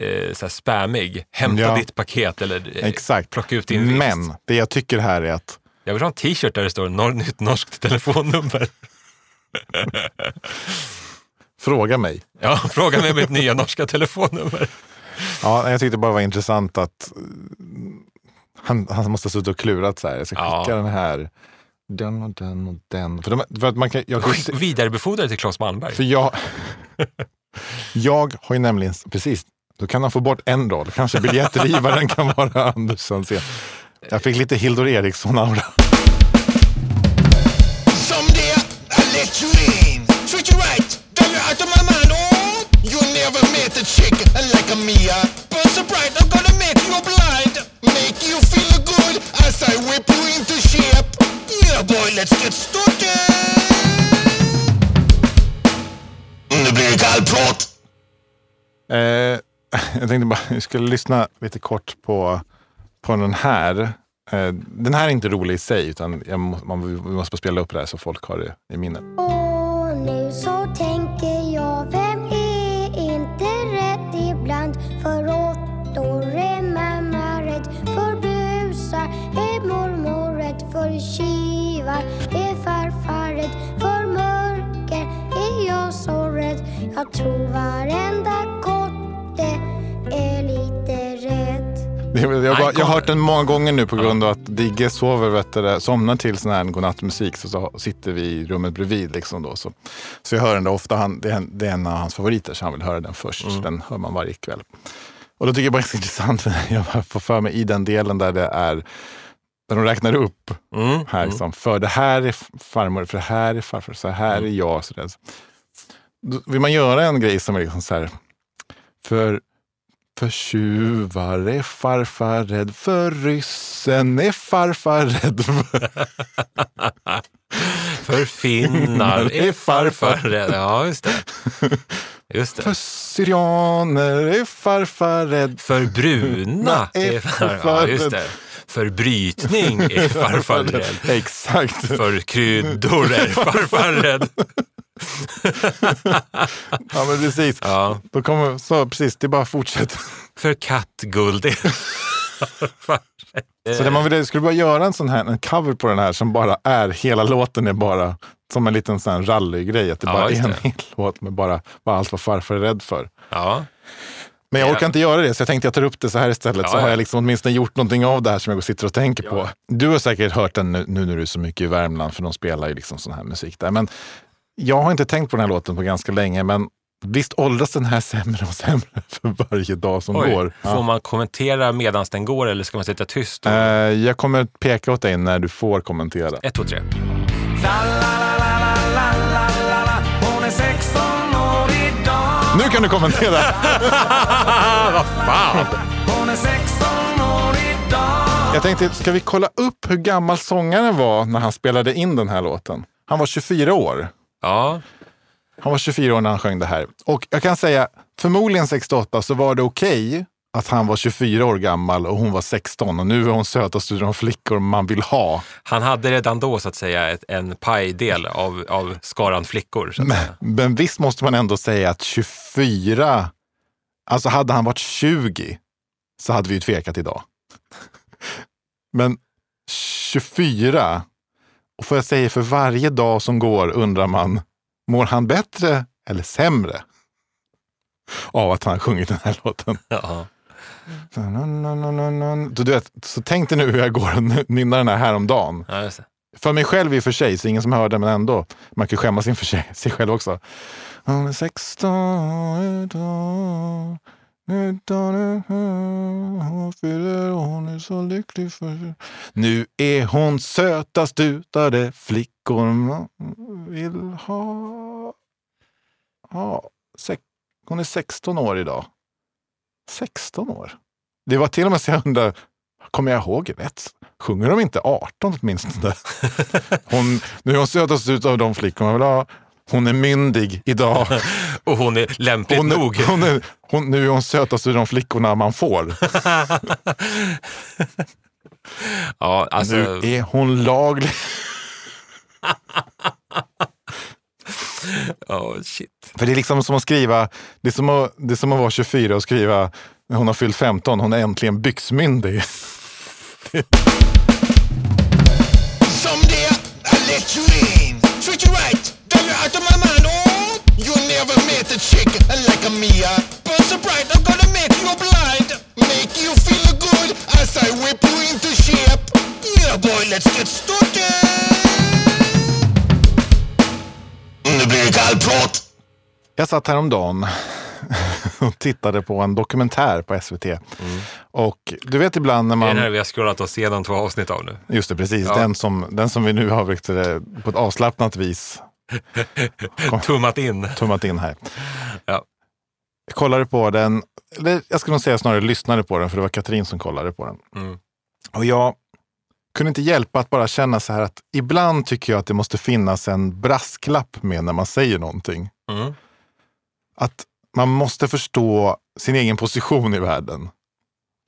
S2: eh, så här spammig. Hämta
S1: Ja.
S2: ditt paket eller eh,
S1: Exakt.
S2: plocka ut din vinst.
S1: Men det jag tycker här är att
S2: Jag vill ha en t-shirt där det står "Nor- nytt norskt telefonnummer.
S1: fråga mig.
S2: Ja, fråga mig mitt nya norska telefonnummer.
S1: Ja, jag tyckte bara det var intressant att eh, han, han måste ha suttit och klurat så här. Jag ska
S2: Ja.
S1: skicka den här. Den och den och den. För, de, för att man kan... Jag, kan ju se-
S2: Skick- Vidarebefordra till Claes Malmberg.
S1: för jag, jag har ju nämligen... Precis, då kan han få bort en roll. Kanske biljettrivaren kan vara Anders Sansén. Jag fick lite Hildur Eriksson-aura.
S4: Someday I let you in. Treat you right. Drive you out of my mind. Oh, you never met a chick like a Mia. But so bright, I'm gonna make you blind. Make you feel good as I whip you into shape. Yeah, boy, let's get started. Nu blir det kallprat.
S1: Eh, jag tänkte bara, jag skulle lyssna lite kort på, på den här. Eh, den här är inte rolig i sig, utan jag, må- man, vi måste bara spela upp det här så folk har det i minnet.
S5: Och nu så tänker jag, vem är inte rätt ibland? För råttor är mamma rätt, för busar är mormor rätt, för kivar är farfar rätt, för mörker är jag så rädd. Jag tror varenda kotte är lite rätt.
S1: Det- Jag, jag, bara, jag har
S2: Icon.
S1: hört den många gånger nu på grund av att Digge sover, vet du, det, somnar till sån här godnattmusik. Så, så sitter vi i rummet bredvid. Liksom då, så. så jag hör den där ofta. Han, det, är en, det är en av hans favoriter, så han vill höra den först. Den hör man varje kväll. Och då tycker jag bara det är så intressant, för jag bara får för mig i den delen där det är där de räknar upp
S2: Mm.
S1: här. Liksom, för det här är f- farmor, för det här är farfar, så här är jag. Så där. Då vill man göra en grej som är liksom så här. För, för tjuvar är farfar rädd, för ryssen är farfar rädd. För,
S2: För finnar är farfar rädd. Ja, just det. Just
S1: för
S2: det.
S1: syrianer är farfar rädd.
S2: För bruna är
S1: är
S2: farfar ja,
S1: farfar
S2: just
S1: rädd.
S2: det. För brytning är farfar rädd.
S1: Exakt.
S2: För kryddor är farfar rädd.
S1: Ja, men precis.
S2: Ja.
S1: Då kommer, så, precis, det bara fortsätter.
S2: För kattguld är farfar rädd.
S1: Så det man vill, skulle bara göra en sån här en cover på den här som bara är, hela låten är bara som en liten sån här rallygrej. Att det
S2: Ja,
S1: bara är
S2: just
S1: en
S2: det.
S1: hel låt med bara vad allt vad farfar är rädd för.
S2: Ja.
S1: Men jag
S2: Ja.
S1: orkar inte göra det så jag tänkte jag tar upp det så här istället. så
S2: Ja,
S1: har
S2: ja.
S1: jag liksom åtminstone gjort någonting av det här som jag sitter och tänker på. Du har säkert hört den nu, nu när du är så mycket i Värmland för de spelar ju liksom sån här musik där. Men jag har inte tänkt på den här låten på ganska länge men visst åldras den här sämre och sämre för varje dag som
S2: Oj.
S1: går.
S2: Får man kommentera medan den går eller ska man sitta tyst?
S1: Eh, jag kommer peka åt dig när du får kommentera.
S2: Ett, två, tre.
S1: Nu kan du kommentera! Jag tänkte, ska vi kolla upp hur gammal sångaren var när han spelade in den här låten? Han var 24 år.
S2: Ja,
S1: Han var 24 år när han sjöng det här. Och jag kan säga, förmodligen 68 så var det okej att han var 24 år gammal och hon var 16 och nu är hon sötast utav de flickor man vill ha.
S2: Han hade redan då så att säga ett, en pajdel av, av skaran flickor. Så att
S1: Men,
S2: säga.
S1: men visst måste man ändå säga att 24, alltså hade han varit 20 så hade vi ju tvekat idag. Men 24, och får jag säga för varje dag som går undrar man, mår han bättre eller sämre? Av att han har sjungit den här låten.
S2: Ja.
S1: Så, du vet, så tänk dig nu hur jag går och nynnar den här häromdagen.
S2: Ja, just det.
S1: För mig själv i och för sig, så ingen som hörde, men ändå. Man kan ju skämmas inför sig, sig själv också. Hon är 16 idag. Idag är hon här. Hon fyller och hon är så lycklig för Nu är hon sötast utav de flickor man vill ha. Ja, sex, hon är 16 år idag. 16 år? Det var till och med så jag undrar, kommer jag ihåg rätt? Sjunger de inte 18 åtminstone? Hon, nu är hon sötast ut av de flickor man vill ha. Hon är myndig idag.
S2: Och hon är lämpligt
S1: Hon,
S2: nog.
S1: hon är, hon, nu är hon sötast ur de flickorna man får.
S2: Ja, alltså,
S1: Nu är hon laglig.
S2: ja, oh, shit.
S1: För det är liksom som att skriva, det är som att, det är som att vara 24 och skriva när hon har fyllt 15, hon är äntligen byxmyndig.
S4: Someday I let you in. Treat you right. Then you're out of my mind. Oh, you never met a chick like a Mia. But so bright, I'm gonna make you blind. Make you feel good as I whip you into shape. Yeah, boy, let's get started. Nu blir det kallprat.
S1: Jag satt häromdagen och tittade på en dokumentär på SVT. Och du vet ibland när
S2: Mm. Det är den
S1: man...
S2: här vi har scrollat oss igenom två avsnitt av nu.
S1: Just det, precis.
S2: Ja.
S1: Den, som, den som vi nu har vet du det, på ett avslappnat vis
S2: Tummat in.
S1: tummat in här.
S2: Ja.
S1: Jag kollade på den, eller jag skulle nog säga snarare lyssnade på den, för det var Katrin som kollade på den.
S2: Mm.
S1: Och jag kunde inte hjälpa att bara känna så här att ibland tycker jag att det måste finnas en brasklapp med när man säger någonting.
S2: Mm.
S1: Att man måste förstå sin egen position i världen.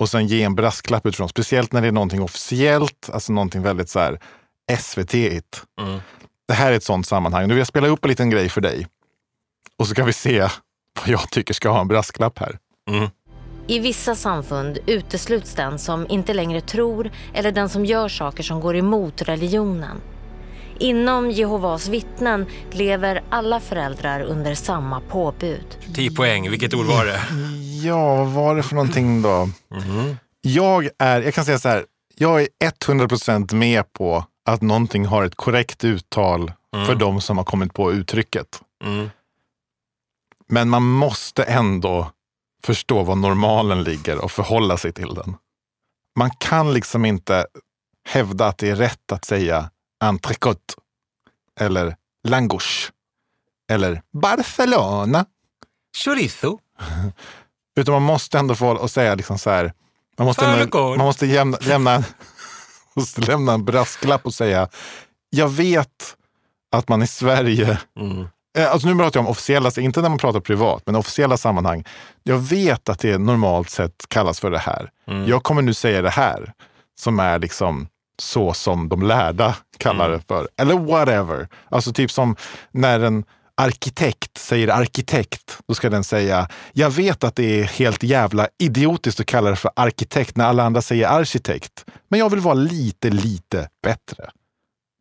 S1: Och sen ge en brasklapp utifrån, speciellt när det är någonting officiellt, alltså någonting väldigt så här SVT-igt.
S2: Mm.
S1: Det här är ett sånt sammanhang. Nu vill jag spela upp en liten grej för dig. Och så kan vi se vad jag tycker ska ha en brasklapp här.
S6: I vissa samfund utesluts den som inte längre tror eller den som gör saker som går emot religionen. Inom Jehovas vittnen lever alla föräldrar under samma påbud.
S2: 10 poäng, vilket ord var det?
S1: Ja, vad var det för någonting då?
S2: Mm-hmm.
S1: Jag är, jag kan säga så här, jag är 100% med på att någonting har ett korrekt uttal för de som har kommit på uttrycket.
S2: Mm.
S1: Men man måste ändå förstå var normalen ligger och förhålla sig till den. Man kan liksom inte hävda att det är rätt att säga entrecote eller langouche eller Barcelona.
S2: Chorizo.
S1: Utan man måste ändå få och säga liksom så här. Man måste, ändå,
S2: Förrgår.
S1: man måste jämna, lämna, måste lämna en brasklapp och säga. Jag vet att man i Sverige,
S2: Mm.
S1: eh, alltså nu pratar jag om officiella, inte när man pratar privat, men officiella sammanhang. Jag vet att det normalt sett kallas för det här.
S2: Mm.
S1: Jag kommer nu säga det här som är liksom så som de lärda kallar det för. Eller whatever. Alltså typ som när en arkitekt säger arkitekt, då ska den säga jag vet att det är helt jävla idiotiskt att kalla det för arkitekt när alla andra säger arkitekt, men jag vill vara lite, lite bättre.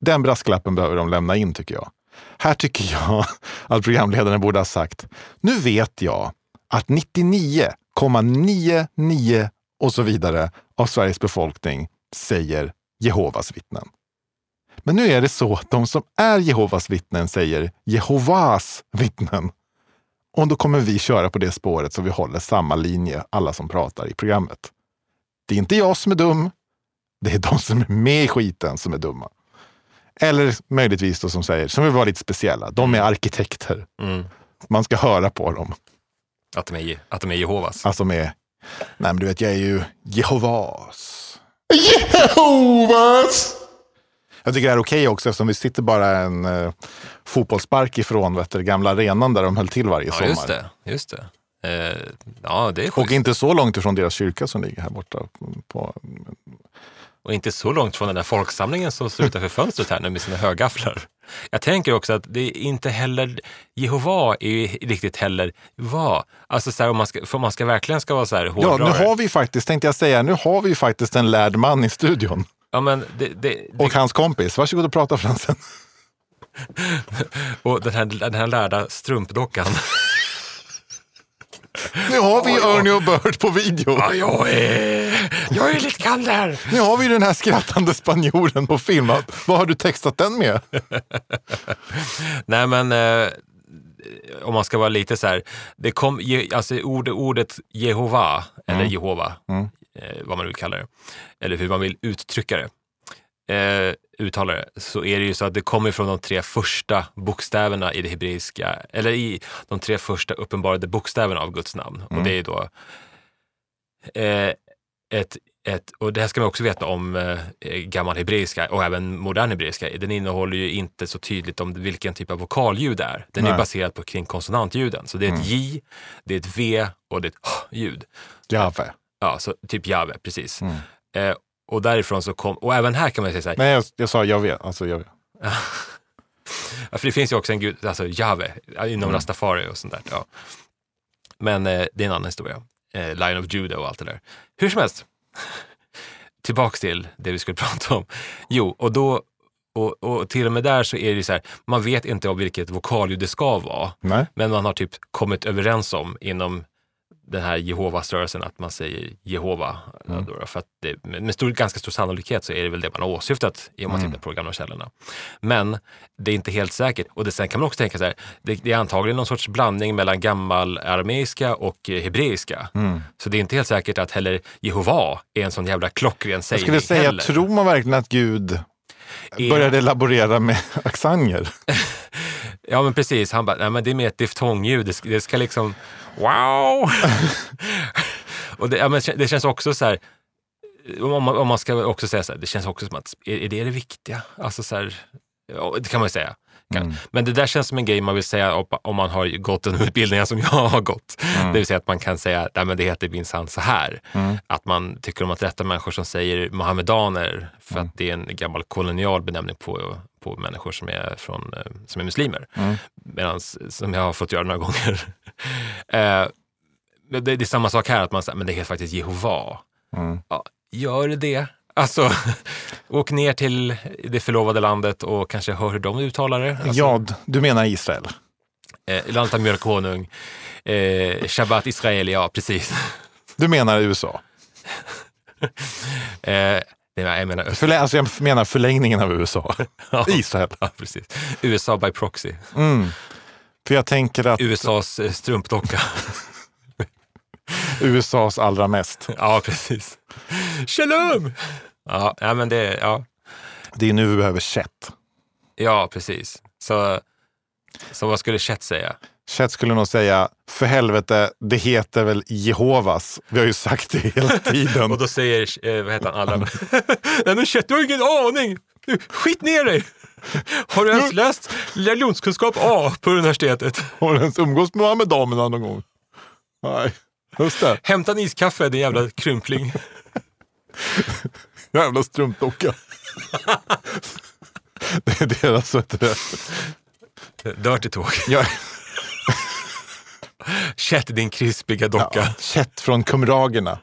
S1: Den brasklappen behöver de lämna in tycker jag. Här tycker jag att programledaren borde ha sagt, nu vet jag att 99,99 och så vidare av Sveriges befolkning säger Jehovas vittnen. Men nu är det så att de som är Jehovas vittnen säger Jehovas vittnen. Och då kommer vi köra på det spåret så vi håller samma linje, alla som pratar i programmet. Det är inte jag som är dum. Det är de som är med i skiten som är dumma. Eller möjligtvis de som säger, som vill vara lite speciella, de är arkitekter. Man ska höra på dem.
S2: Mm. Att de är, att de är Jehovas.
S1: Alltså med, nej men du vet jag är ju Jehovas.
S4: Jehovas!
S1: Jag tycker det här är okej också eftersom vi sitter bara en eh, fotbollspark ifrån vet du, gamla arenan där de höll till varje
S2: Ja,
S1: sommar.
S2: just det. Just det. Eh, ja, det är schysst.
S1: Och inte så långt ifrån deras kyrka som ligger här borta. På,
S2: Och inte så långt från den där folksamlingen som står utanför fönstret här nu med sina högafflar. Jag tänker också att det är inte heller, Jehova är ju riktigt heller vad. Alltså så här, om man ska, för om man ska verkligen ska vara så här
S1: ja, nu
S2: hårdrare.
S1: har vi faktiskt, tänkte jag säga, nu har vi ju faktiskt en lärd man i studion.
S2: ja, men det, det, det,
S1: Och hans kompis. Varsågod och prata Fransen.
S2: och den, här, den här lärda strumpdockan.
S1: Nu har vi Ernie och Bert på video.
S2: jag är, jag är lite kall där.
S1: Nu har vi den här skrattande spanjoren på film. Vad har du textat den med?
S2: Nej, men eh, om man ska vara lite så här. Det kom, je, alltså ord, ordet Jehova, eller Jehova, eh, vad man nu kallar det, eller hur man vill uttrycka det, eh, uttala det, så är det ju så att det kommer från de tre första bokstäverna i det hebreiska, eller i de tre första uppenbarade bokstäverna av Guds namn. Och det är då eh, ett ett, och det här ska man också veta om eh, gammal hebreiska och även modern hebreiska. Den innehåller ju inte så tydligt om vilken typ av vokalljud det är. Den är
S1: Nej.
S2: baserad på kring konsonantljuden. Så det är ett J, det är ett V och det är ett H-ljud.
S1: Jaffe.
S2: Ja, så typ Jave, precis. Eh, och därifrån så kom, och även här kan man säga så här,
S1: Nej, jag, jag sa jag vet. Alltså, jag vet.
S2: Ja, för det finns ju också en gud, alltså Jave, inom rastafari och sånt där. Ja. Men eh, det är en annan historia. Eh, Lion of Judah och allt det där. Hur som helst, tillbaks till det vi skulle prata om. Jo, och då, och, och till och med där så är det ju så här, man vet inte om vilket vokalljud det ska vara,
S1: Nej.
S2: men man har typ kommit överens om inom den här Jehovas-rörelsen att man säger Jehova.
S1: Mm.
S2: ja, Då, då, för att det, med med stor, ganska stor sannolikhet så är det väl det man har åsyftat om
S1: Mm.
S2: man tittar på de gamla källorna. Men det är inte helt säkert. Och det, sen kan man också tänka så här, det, det är antagligen någon sorts blandning mellan gammal arameiska och eh, hebreiska.
S1: Mm.
S2: Så det är inte helt säkert att heller Jehova är en sån jävla klockren
S1: Jag
S2: sägning
S1: skulle säga,
S2: heller.
S1: tror man verkligen att Gud
S2: Är-
S1: började laborera med accenter?
S2: Ja men precis, han bara, nej men det är mer ett diftongljud, det ska, det ska liksom, wow! och det, ja, men det känns också så här, om man, om man ska också säga så här, det känns också som att, är, är det det viktiga? Alltså så här, ja, det kan man ju säga. Kan, Men det där känns som en grej man vill säga om, om man har gått den utbildningen som jag har gått. Det vill säga att man kan säga, nej men det heter minsann så här. Att man tycker om att rätta människor som säger mohammedaner, för att det är en gammal kolonial benämning på, på människor som är, från, eh, som är muslimer. Medan, som jag har fått göra några gånger. eh, men det, det är samma sak här, att man säger, men det heter faktiskt Jehova.
S1: Mm.
S2: Ja, gör det. Alltså, åk ner till det förlovade landet och kanske hör hur de uttalar det. Alltså,
S1: Ja, du menar Israel.
S2: eh, landet av mjölk och honung. Eh, Shabbat Israel, ja precis.
S1: Du menar USA.
S2: Eh, nej, jag menar öst.
S1: Förlä- alltså, jag menar förlängningen av USA.
S2: Ja.
S1: Israel.
S2: Ja, precis. USA by proxy.
S1: För jag tänker att
S2: USAs eh, strumpdocka.
S1: USAs allra mest,
S2: ja, precis. Shalom! Ja, nej, men det, ja.
S1: det är nu vi behöver chet.
S2: ja, precis. Så, så vad skulle Chet säga?
S1: Chet skulle nog säga, för helvete, det heter väl Jehovas. Vi har ju sagt det hela
S2: Och
S1: tiden.
S2: då säger, eh, vad heter han, alla? Nej men shit, du har ingen aning! Du, skit ner dig! Har du ens läst religionskunskap A på universitetet?
S1: Har du ens umgås med med damerna någon gång? Nej, just det.
S2: Hämta en iskaffe din jävla krympling.
S1: Jävla strumpdocka. det är deras, vet du det.
S2: Dirty talk.
S1: Jag,
S2: Chet din krispiga docka.
S1: ja, Chet från Kumragerna.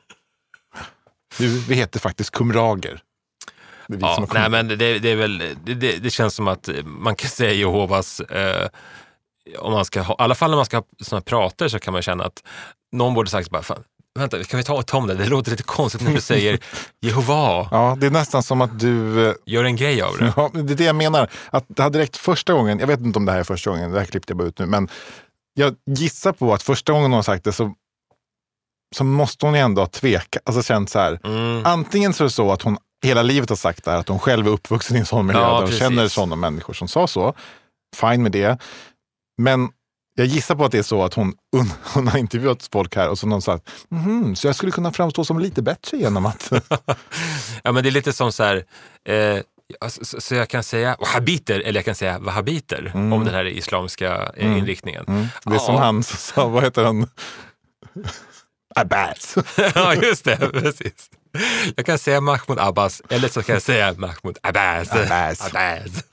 S1: Du, vi heter faktiskt Kumrager. Det är vi
S2: Ja,
S1: som har
S2: nej
S1: kommit-
S2: men det, det är väl, det, det, det känns som att man kan säga Jehovas, eh, om man ska ha, i alla fall när man ska ha sådana prater så kan man känna att någon borde sagt bara, fan, vänta, kan vi ta, ta om det? Det låter lite konstigt när du säger Jehova,
S1: ja, det är nästan som att du eh,
S2: gör en grej av det.
S1: Ja, men det är det jag menar. Att det hade räckt första gången, jag vet inte om det här är första gången, det här klippte jag bara ut nu, men jag gissar på att första gången hon har sagt det så, så måste hon ju ändå ha tvekat, alltså känt så här.
S2: Mm.
S1: Antingen så är det så att hon hela livet har sagt det här, att hon själv är uppvuxen i en sån miljö
S2: Ja,
S1: där hon
S2: precis.
S1: känner sådana människor som sa så. Fine med det. Men jag gissar på att det är så att hon, hon, hon har intervjuat folk här och så har någon sagt, "Mhm, så jag skulle kunna framstå som lite bättre genom att...
S2: Ja, men det är lite som så här, eh, alltså, så, så jag kan säga wahhabiter eller jag kan säga
S1: Mm.
S2: wahhabiter om den här islamiska eh, inriktningen.
S1: Det är som
S2: Ja.
S1: han som sa, vad heter han, Abbas.
S2: ja, just det. Precis. Jag kan säga Mahmoud Abbas eller så kan jag säga Mahmoud Abbas.
S1: Abbas.
S2: Abbas.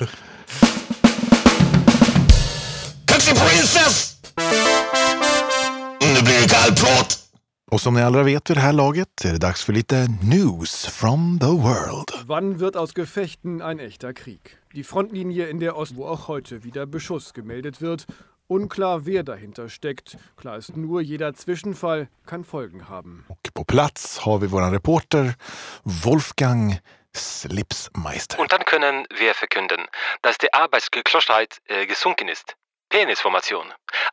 S4: Kaxig prinsess! Nu blir det kallprat.
S1: Och som ni alla vet vid det här laget är det dags för lite news from the world.
S7: Wann wird aus Gefechten ein echter Krieg? Die Frontlinie in der Ost, wo auch heute wieder Beschuss gemeldet wird. Unklar, wer dahinter steckt. Klar ist nur, jeder Zwischenfall kann Folgen haben.
S1: Och på plats har vi vår reporter Wolfgang Slipsmeister.
S8: Und dann können wir verkünden, dass die Arbeitsgeschlossenheit äh, gesunken ist. Penisformation.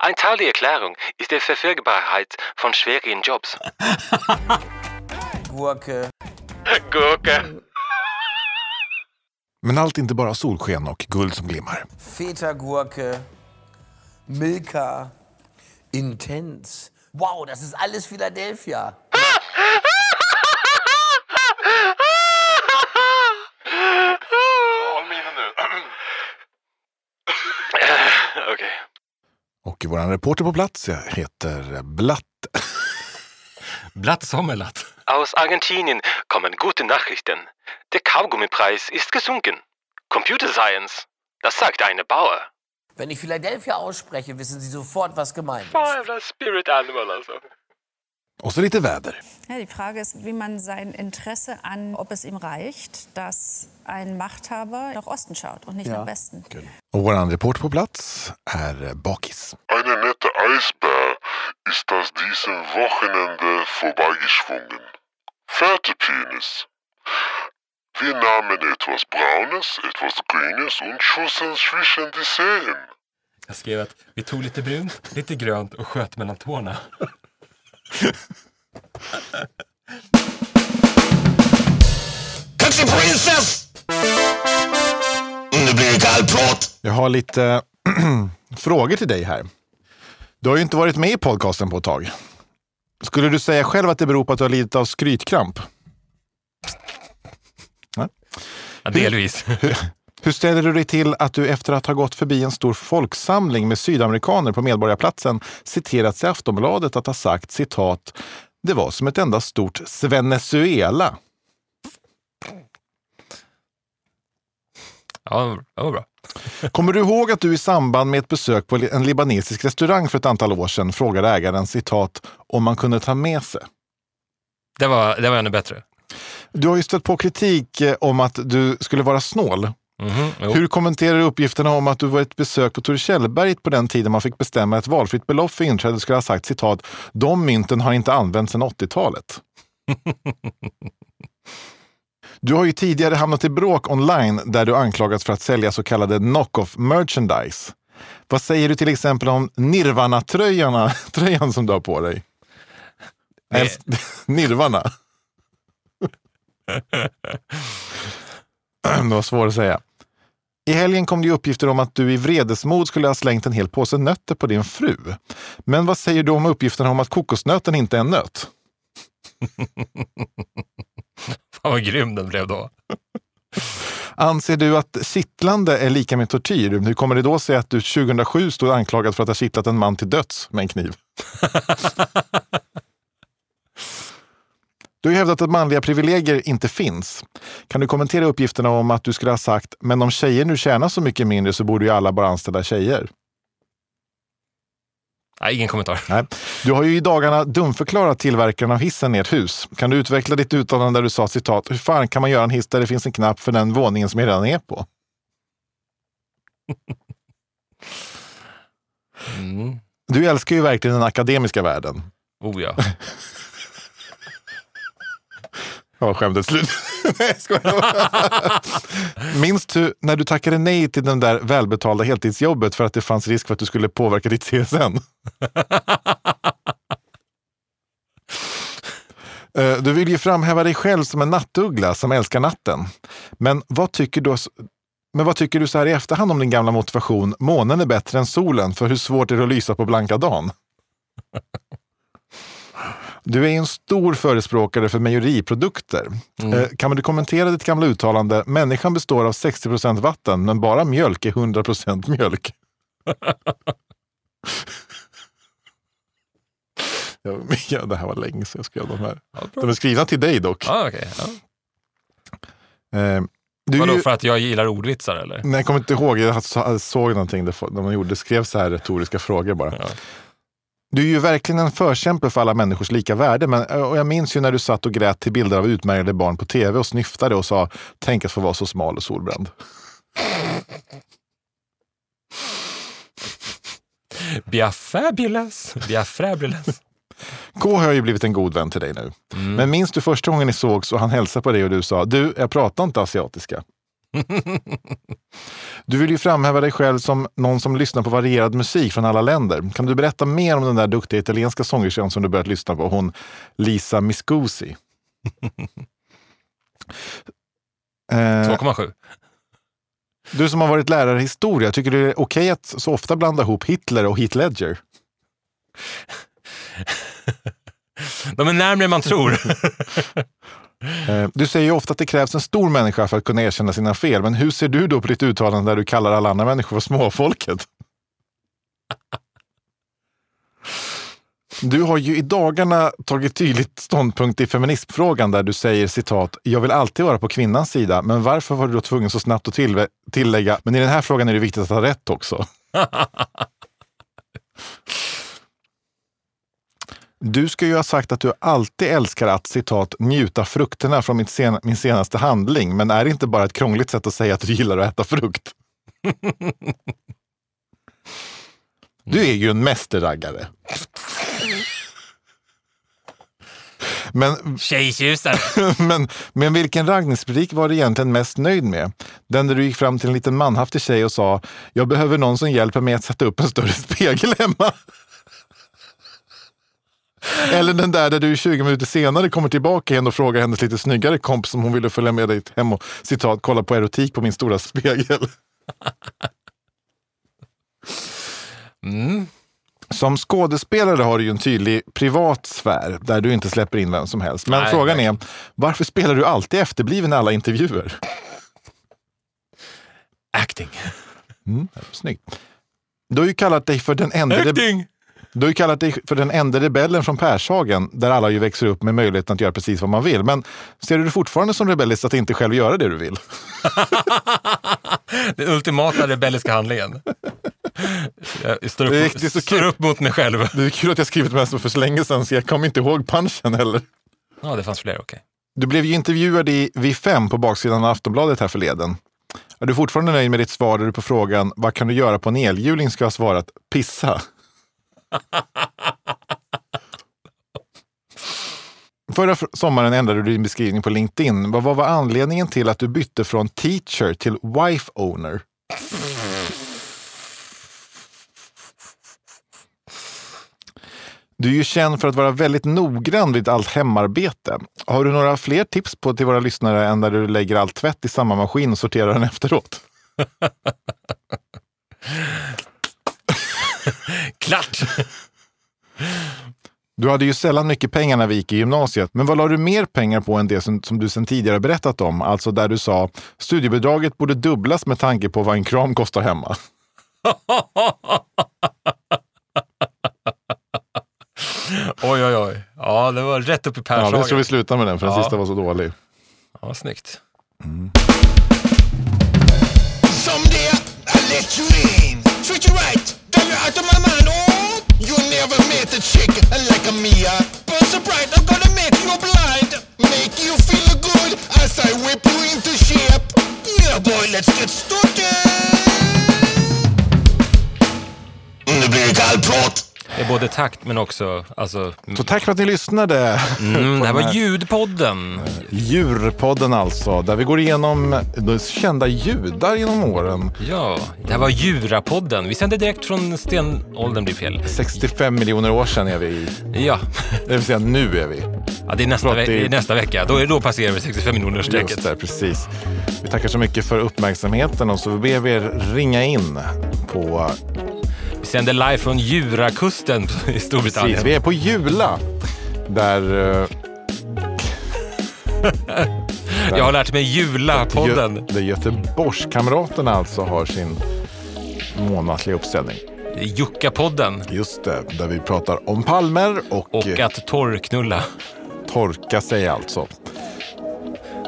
S8: Ein Teil der Erklärung ist die Verfügbarkeit von schwierigen Jobs.
S3: Gurke.
S1: Men allt är inte bara solsken och guld som glimmar.
S9: Feta-Gurke, Milka, Intens. Wow, das ist alles Philadelphia.
S3: Håll mig inne nu.
S8: Okay.
S1: Och vår reporter på plats jag heter Blatt.
S2: Blatt Sommerlatt.
S8: Aus Argentinien kommen gute Nachrichten. Der Kaugummipreis ist gesunken. Computer Science. Das sagt eine Bauer.
S9: Wenn ich Philadelphia ausspreche, wissen Sie sofort, was gemeint
S3: Fan,
S9: ist.
S3: jävla spirit animal also. alltså.
S1: Och så lite väder.
S10: Ja, die Frage ist, wie man sein Interesse an, ob es ihm reicht, dass ein Machthaber nach Osten schaut und nicht nach Westen.
S1: Och vår reporter på plats är Bakis.
S11: Eine nette Eisbär ist aus diesem Wochenende vorbeigeschwungen. Fertigpenis. Wir nahmen etwas Braunes, etwas Grünes und schossen zwischen die Seen.
S2: Jag skrev att vi tog lite brunt, lite grönt och sköt mellan tårna.
S4: Kaxig prinsess! Nu blir det kallprat.
S1: Jag har lite frågor till dig här. Du har ju inte varit med i podcasten på ett tag. Skulle du säga själv att det beror på att du har lidit av skrytkramp?
S2: Ja, delvis.
S1: Hur ställer du dig till att du efter att ha gått förbi en stor folksamling med sydamerikaner på Medborgarplatsen citerats i Aftonbladet att ha sagt citat “Det var som ett enda stort Venezuela”?
S2: Ja, det var bra.
S1: Kommer du ihåg att du i samband med ett besök på en libanesisk restaurang för ett antal år sedan frågade ägaren citat om man kunde ta med sig?
S2: Det var, det var ännu bättre.
S1: Du har ju stött på kritik eh, om att du skulle vara snål.
S2: Mhm, jo.
S1: Hur kommenterar du uppgifterna om att du var ett besök på Tore Kjellberget på den tiden man fick bestämma ett valfritt belopp för inträde skulle ha sagt citat “De mynten har inte använts sedan 80-talet”? Du har ju tidigare hamnat i bråk online där du anklagats för att sälja så kallade knock-off merchandise. Vad säger du till exempel om Nirvana-tröjan tröjan som du har på dig?
S2: Nej.
S1: Nej. Nirvana. Det var svårt att säga. I helgen kom det ju uppgifter om att du i vredesmod skulle ha slängt en hel påse nötter på din fru. Men vad säger du om uppgifterna om att kokosnöten inte är en nöt?
S2: Fan vad grym den blev då.
S1: Anser du att kittlande är lika med tortyr? Hur kommer det då sig att du 2007 stod anklagad för att ha kittlat en man till döds med en kniv? Du har ju hävdat att manliga privilegier inte finns. Kan du kommentera uppgifterna om att du skulle ha sagt “men om tjejer nu tjänar så mycket mindre så borde ju alla bara anställa tjejer”?
S2: Nej, ingen kommentar.
S1: Nej. Du har ju i dagarna dumförklarat tillverkaren av hissen i ert hus. Kan du utveckla ditt uttalande där du sa citat “hur fan kan man göra en hiss där det finns en knapp för den våningen som jag redan är på?”
S2: Mm.
S1: Du älskar ju verkligen den akademiska världen.
S2: Oh
S1: Eh,
S2: ja.
S1: Ja, skämtet slut. Nej, jag skojar. Minns du när du tackade nej till den där välbetalda heltidsjobbet för att det fanns risk för att du skulle påverka ditt CSN? Eh, Du vill ju framhäva dig själv som en nattuggla som älskar natten. Men vad tycker du, men vad tycker du så här i efterhand om din gamla motivation? Månen är bättre än solen, för hur svårt är det att lysa på blanka dagen? Du är ju en stor förespråkare för mejeriprodukter.
S2: Mm.
S1: Eh, Kan du kommentera ditt gamla uttalande? Människan består av 60 procent vatten, men bara mjölk är 100 procent mjölk. Jag, ja, det här var länge sedan jag skrev de här. de är skrivna till dig dock.
S2: Ah, okay. ja.
S1: Eh, du är
S2: Vadå,
S1: ju-
S2: för att jag gillar ordvitsar eller?
S1: Nej, jag kommer inte ihåg. Jag så- såg någonting där fo- de gjorde, skrev så här retoriska frågor bara.
S2: Ja.
S1: Du är ju verkligen en förkämpe för alla människors lika värde. Men, eh, och jag minns ju när du satt och grät till bilder av utmärglade barn på tv och snyftade och sa tänk att få vara så smal och solbränd.
S2: Biafabulous. Biafabulous.
S1: Eh. K har ju blivit en god vän till dig nu. Men minns du första gången ni sågs och han hälsade på dig och du sa du, jag pratar inte asiatiska. Du vill ju framhäva dig själv som någon som lyssnar på varierad musik från alla länder. Kan du berätta mer om den där duktiga italienska sångerskan som du börjat lyssna på? Hon Lisa Miscusi. Eh,
S2: 2,7.
S1: du som har varit lärare i historia, tycker du det är okej att så ofta blanda ihop Hitler och Heath Ledger?
S2: De är närmare man tror.
S1: Eh, Du säger ju ofta att det krävs en stor människa för att kunna erkänna sina fel, men hur ser du då på ditt uttalande där du kallar alla andra människor för småfolket? Du har ju i dagarna tagit tydligt ståndpunkt i feminismfrågan där du säger citat, jag vill alltid vara på kvinnans sida, men varför var du då tvungen så snabbt att tillvä- tillägga, men i den här frågan är det viktigt att ha rätt också? Du ska ju ha sagt att du alltid älskar att citat njuta frukterna från mitt sen- min senaste handling, men är det inte bara ett krångligt sätt att säga att du gillar att äta frukt? Du är ju en mästerraggare. Men,
S2: Tjejtjusare.
S1: men, men vilken raggningsbutik var du egentligen mest nöjd med? Den där du gick fram till en liten manhaftig tjej och sa jag behöver någon som hjälper mig att sätta upp en större spegel hemma. Eller den där där du 20 minuter senare kommer tillbaka igen och frågar hennes lite snyggare kompis om hon ville följa med dig hem och citat kolla på erotik på min stora spegel. Mm. Som skådespelare har du ju en tydlig privat sfär där du inte släpper in vem som helst. Men
S2: Nej,
S1: frågan
S2: nej.
S1: är, varför spelar du alltid efterbliven i alla intervjuer?
S2: Acting.
S1: Snyggt. Du har ju kallat dig för den enda, rebe-
S2: Acting!
S1: du har ju kallat dig för den enda rebellen från Pershagen, där alla ju växer upp med möjligheten att göra precis vad man vill. Men ser du dig fortfarande som rebelliskt att inte själv göra det du vill?
S2: Den ultimata rebelliska handlingen. Jag står upp,
S1: Det är riktigt så
S2: står
S1: kul.
S2: upp mot mig själv.
S1: Det är kul att jag skrivit med för så länge sedan, så jag kommer inte ihåg punchen heller.
S2: Ja, det fanns fler, okej.
S1: Du blev ju intervjuad i Vi fem på baksidan av Aftonbladet här förleden. Är du fortfarande nöjd med ditt svar där du på frågan vad kan du göra på en elhjuling ska ha svarat pissa? Förra fr- sommaren ändrade du din beskrivning på LinkedIn. Vad vad var anledningen till att du bytte från teacher till wife owner? Du är ju känd för att vara väldigt noggrann vid allt hemarbete. Har du några fler tips på till våra lyssnare än där du lägger all tvätt i samma maskin och sorterar den efteråt?
S2: Klart!
S1: Du hade ju sällan mycket pengar när vi gick i gymnasiet, men vad la du mer pengar på än det som, som du sen tidigare berättat om? Alltså där du sa studiebidraget borde dubblas med tanke på vad en kram kostar hemma.
S2: Oj, oj, oj. Ja, det var rätt upp i
S1: Ja,
S2: Pershagen.
S1: jag tror vi slutar med den, för den
S2: Ja.
S1: sista var så dålig.
S2: ja, snyggt.
S4: Someday I let you in. Treat you right. Then you're out of my mind. Oh, you never met a chick like a Mia. But surprise, I'm gonna make you blind. Make you feel good as I whip you into shape. Yeah, boy, let's get started. Nu blir det kallprat.
S2: Det är både takt men också... Alltså,
S1: Så tack för att ni lyssnade!
S2: mm, det här var ljudpodden.
S1: Djurpodden alltså, där vi går igenom de kända judar genom åren.
S2: Ja, det här var Djurapodden. Vi sände direkt från stenåldern, blir fel.
S1: 65 miljoner år sedan är vi i.
S2: Ja,
S1: Det vill säga nu är vi.
S2: ja det, är nästa
S1: Förlåt,
S2: ve-
S1: det är-
S2: det är nästa vecka. Då, är- då passerar vi
S1: Just
S2: 65 miljoner-strecket.
S1: det, precis. Vi tackar så mycket för uppmärksamheten och så ber vi er ringa in på...
S2: Vi sänder live från Jurakusten i Storbritannien.
S1: Precis, vi är på Jula. Där... eh,
S2: Jag har lärt mig Jula-podden.
S1: Gö- där Göteborgskamraterna alltså har sin månatliga uppställning.
S2: Juckapodden.
S1: Just det, där vi pratar om palmer och, eh,
S2: Och att torrknulla.
S1: torka sig alltså.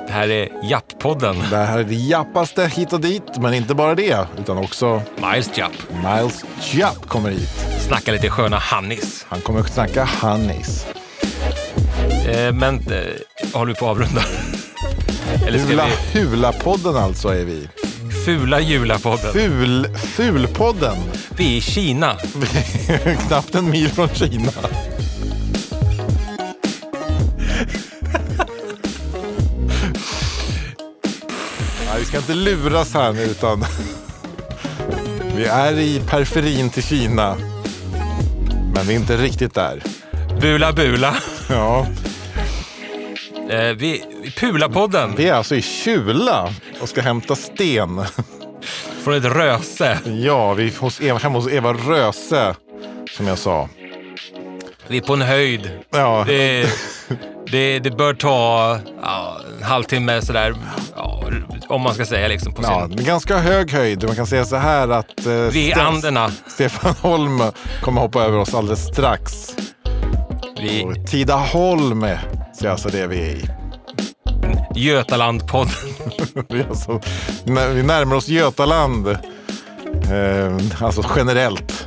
S2: Det här är Japp-podden.
S1: Det här är det jappaste hit och dit, men inte bara det, utan också
S2: Miles Japp.
S1: Miles Japp kommer hit.
S2: Snacka lite sköna Hannis.
S1: Han kommer att snacka Hannis.
S2: Eh, men eh, håller vi på att avrunda? Eller ska
S1: Hula,
S2: vi...
S1: Hula-podden alltså är vi.
S2: Fula Jula-podden.
S1: Ful, fulpodden.
S2: Vi är i Kina.
S1: Knappt en mil från Kina. Nej, vi ska inte luras här nu utan vi är i periferin till Kina. Men vi är inte riktigt där.
S2: Bula Bula.
S1: Ja,
S2: Eh, vi... Pula-podden.
S1: vi är alltså i Kjula och ska hämta sten.
S2: Från ett röse.
S1: Ja, vi är hos Eva, hemma hos Eva Röse som jag sa.
S2: Vi är på en höjd.
S1: Ja,
S2: Det, det, det bör ta ja, en halvtimme sådär. Ja, om man ska säga liksom på
S1: ja
S2: sin...
S1: det är ganska hög höjd. Man kan säga så här att eh,
S2: Vi är i
S1: Sten-
S2: Anderna.
S1: Stefan Holm kommer hoppa över oss alldeles strax.
S2: Vi är
S1: Och Tidaholm så är alltså det vi är i.
S2: Götalandpodden.
S1: Vi, är alltså, när vi närmar oss Götaland. Eh, alltså generellt.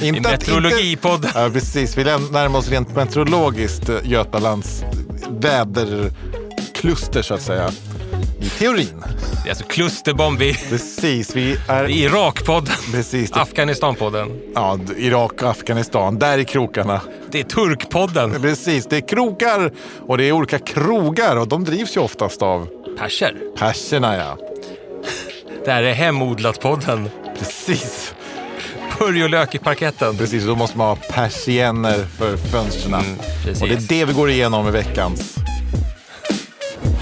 S2: I
S1: Inte att-
S2: Meteorologipodden.
S1: Inte, ja, precis. Vi län- närmar oss rent meteorologiskt eh, Götalands väderkluster så att säga. I teorin.
S2: Det är alltså klusterbomb. Vi
S1: Precis. Vi är
S2: vi är i Irakpodden.
S1: Precis. Det,
S2: Afghanistanpodden.
S1: ja, Irak och Afghanistan. Där är krokarna.
S2: Det är Turkpodden.
S1: Precis, det är krokar och det är olika krogar och de drivs ju oftast av
S2: Perser.
S1: perserna ja.
S2: Det här är Hemodlat-podden.
S1: Precis,
S2: Purjolök i parketten.
S1: precis. Då måste man ha persienner för fönstren.
S2: precis.
S1: och det är det vi går igenom i veckans.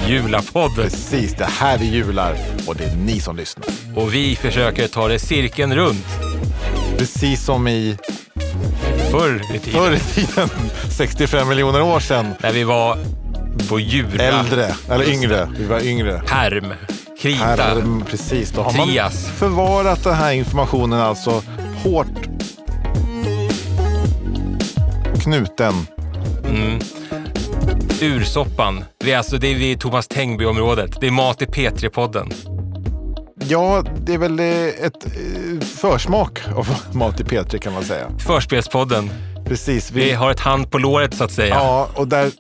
S2: Julapodd.
S1: Precis, det här vi jular och det är ni som lyssnar.
S2: Och vi försöker ta det cirkeln runt.
S1: Precis som i
S2: Förr i tiden.
S1: förr i tiden, 65 miljoner år sedan.
S2: När vi var på Jura.
S1: Äldre, eller yngre. Vi var yngre.
S2: Perm. Krita.
S1: Här, mm, precis, då har man
S2: Trias.
S1: förvarat den här informationen alltså hårt knuten.
S2: Ursoppan. Vi är alltså det är vi i Thomas Tengby-området. Det är Mat i P3-podden.
S1: Ja, det är väl eh, ett eh, försmak av Mat i P3 kan man säga.
S2: Förspelspodden.
S1: Precis, vi,
S2: Vi har ett hand på låret så att säga.
S1: ja, och där,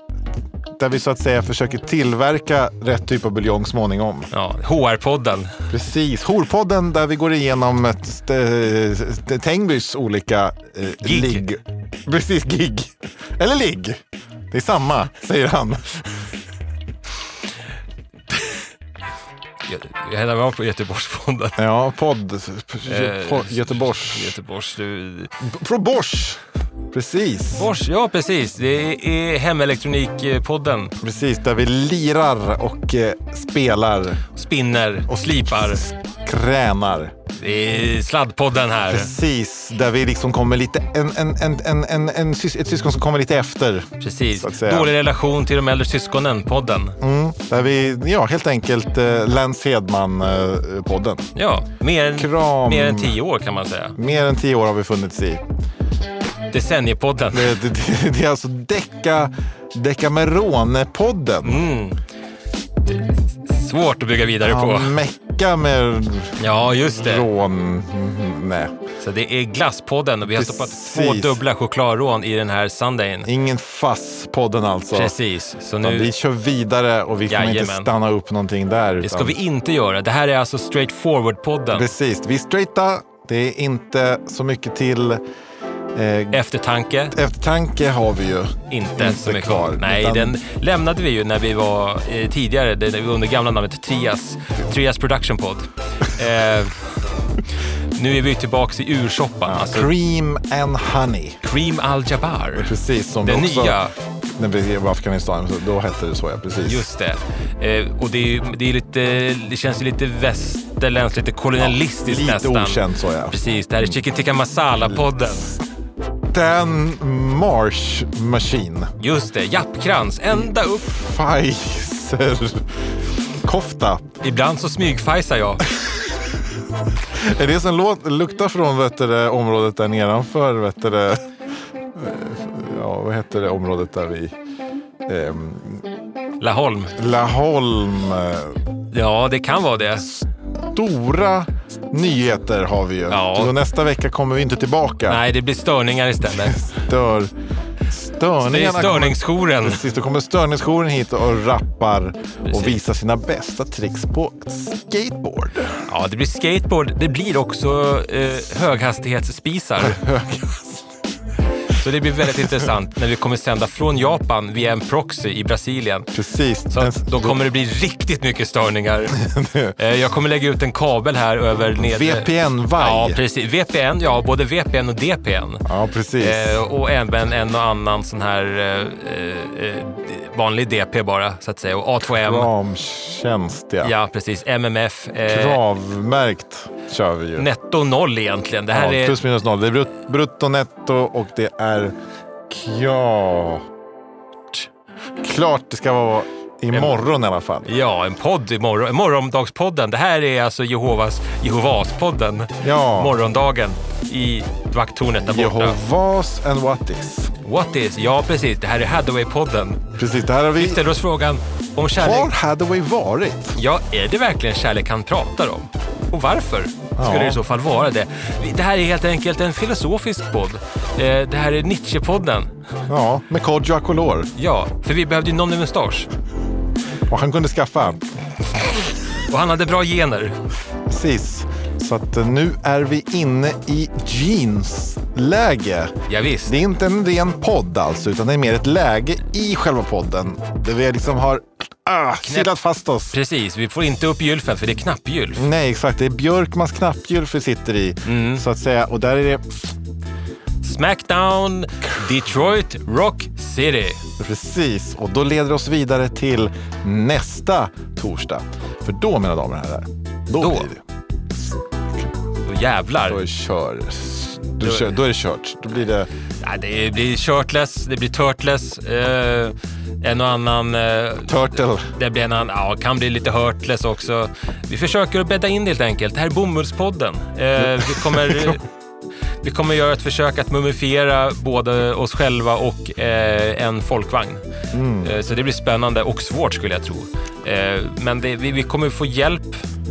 S1: där vi så att säga försöker tillverka rätt typ av buljong småningom.
S2: Ja, HR-podden.
S1: Precis, Horpodden där vi går igenom ett, eh, eh, Tengbys olika eh,
S2: Gig.
S1: ligg. Precis, gig. Eller ligg. Det är samma, säger han.
S2: Jag, jag hade varit på Göteborgspodden.
S1: Ja, podd.
S2: Eh,
S1: Po- Göteborgs.
S2: Göteborgs... Du...
S1: Från Bors. Precis.
S2: Bors, ja precis. Det är Hemelektronikpodden.
S1: Precis, där vi lirar och eh, spelar
S2: Spinner och slipar.
S1: kränar.
S2: Det är Sladdpodden här.
S1: Precis, där vi liksom kommer lite... En, en, en, en, en, en, sys- ett syskon som kommer lite efter.
S2: Precis.
S1: så att säga.
S2: Dålig relation till de äldre syskonen-podden.
S1: Mm, där vi, ja, helt enkelt eh, Lance Hedman-podden.
S2: Ja, mer än,
S1: Kram. Mm.
S2: mer än tio år kan man säga.
S1: Mer än tio år har vi funnits i.
S2: Decenniepodden.
S1: Det, det, det, det är alltså Decca, Decameron-podden.
S2: Mm, Svårt att bygga vidare
S1: Ja,
S2: på.
S1: Mecka med
S2: Ja, just det.
S1: rån... Mm, Nej.
S2: Så det är Glasspodden och vi har stoppat två
S1: Precis.
S2: dubbla chokladrån i den här Sundayn.
S1: Ingen fass-podden alltså.
S2: Precis. Så
S1: Utan
S2: nu,
S1: Vi kör vidare och vi kommer inte
S2: Jajamän.
S1: stanna upp någonting där.
S2: det ska
S1: utan-
S2: vi inte göra. Det här är alltså Straight Forward-podden.
S1: Precis, vi är straighta. Det är inte så mycket till. Eh,
S2: Eftertanke,
S1: eftertanke har vi ju.
S2: inte, så
S1: inte
S2: mycket
S1: kvar,
S2: Nej,
S1: utan-
S2: den lämnade vi ju när vi var eh, tidigare, det, det var under gamla namnet Trias, Trias Production Pod. Eh, nu är vi tillbaka i ursoppan, alltså
S1: Cream and honey.
S2: Cream Al-Jabbar.
S1: Precis som
S2: Den
S1: vi också,
S2: nya.
S1: När vi var i Afghanistan, så- då hette det så ja, precis.
S2: Just det. Eh, och det, är, ju- det, är lite, det känns ju lite västerländskt, lite kolonialistiskt
S1: lite
S2: nästan.
S1: okänt så, ja. Mm.
S2: Precis, det här är Chicken Tikka Masala-podden.
S1: Dan Marsh Machine.
S2: Just det, Jappkrans, ända upp.
S1: Pfizer. Kofta.
S2: Ibland så smygfajsar jag.
S1: Är det som låt, luktar från vet du, det, området där nedanför? Vet du, det, eh, ja, vad heter det området där vi... ehm,
S2: Laholm.
S1: Laholm. eh,
S2: Ja, det kan vara det.
S1: Stora nyheter har vi ju.
S2: Ja.
S1: Så nästa vecka kommer vi inte tillbaka.
S2: Nej, det blir störningar istället.
S1: Stör,
S2: Så Det är
S1: störningarna kommer
S2: störningsjouren.
S1: Precis, då kommer störningsjouren hit och rappar
S2: Precis.
S1: och visar sina bästa tricks på skateboard.
S2: Ja, det blir skateboard. Det blir också eh, höghastighetsspisar. Så det blir väldigt intressant när vi kommer sända från Japan via en proxy i Brasilien.
S1: Precis.
S2: Så
S1: Men-
S2: att då kommer det bli riktigt mycket störningar. Eh, Jag kommer lägga ut en kabel här över nedre...
S1: VPN-vaj.
S2: Ja, precis. VPN, ja. Både VPN och DPN.
S1: Ja, precis.
S2: Eh, och även en och annan sån här eh, eh, eh, vanlig DP bara, så att säga. Och A2M.
S1: Ramtjänst, ja.
S2: Ja, precis. MMF. eh,
S1: Kravmärkt kör vi ju.
S2: Netto noll egentligen. Det här
S1: ja,
S2: är...
S1: Plus minus noll. Det är brut- brutto, netto och det är klart. Klart det ska vara imorgon i alla fall.
S2: Ja, en podd imorgon. Morgondagspodden. Det här är alltså Jehovas, Jehovas-podden.
S1: Ja.
S2: Morgondagen i vakttornet där borta.
S1: Jehovas and what is.
S2: What is? Ja, precis. Det här är Hathaway-podden.
S1: Precis, det här har
S2: Vi
S1: vi...
S2: ställer oss frågan om kärlek...
S1: Var Hathaway varit?
S2: Ja, är det verkligen kärlek han pratar om? Och varför skulle
S1: Ja.
S2: det i så fall vara det? Det här är helt enkelt en filosofisk podd. Eh, Det här är Nietzsche-podden.
S1: Ja, med Kodjo Akolor.
S2: Ja, för vi behövde ju någon med mustasch.
S1: Och han kunde skaffa en.
S2: Och han hade bra gener.
S1: Precis. Så att eh, nu är vi inne i jeansläge.
S2: Ja, visst.
S1: Det är inte en ren podd alltså, utan det är mer ett läge i själva podden. Där vi liksom har ah, kilat fast oss.
S2: Precis, vi får inte upp gylfen för det är knappgylf.
S1: Nej, exakt. Det är Björkmans knappgylf vi sitter i, så att säga. Och där är det
S2: Smackdown, Detroit, Rock City.
S1: precis. Och då leder det oss vidare till nästa torsdag. För då, mina damer och herrar, då,
S2: Då.
S1: blir det.
S2: Då jävlar.
S1: Då är det kör. Då, kör, då är det kört. Då blir det...
S2: Ja, det blir shirtless, det blir turtless, eh, en och annan... Eh,
S1: Turtle.
S2: det blir en annan, ja, kan bli lite hurtless också. Vi försöker att bädda in det helt enkelt. Det här är Bomullspodden. Eh, vi, kommer, vi kommer göra ett försök att mumifiera både oss själva och eh, en folkvagn. Eh, så det blir spännande och svårt skulle jag tro. Eh, men det, vi, vi kommer få hjälp.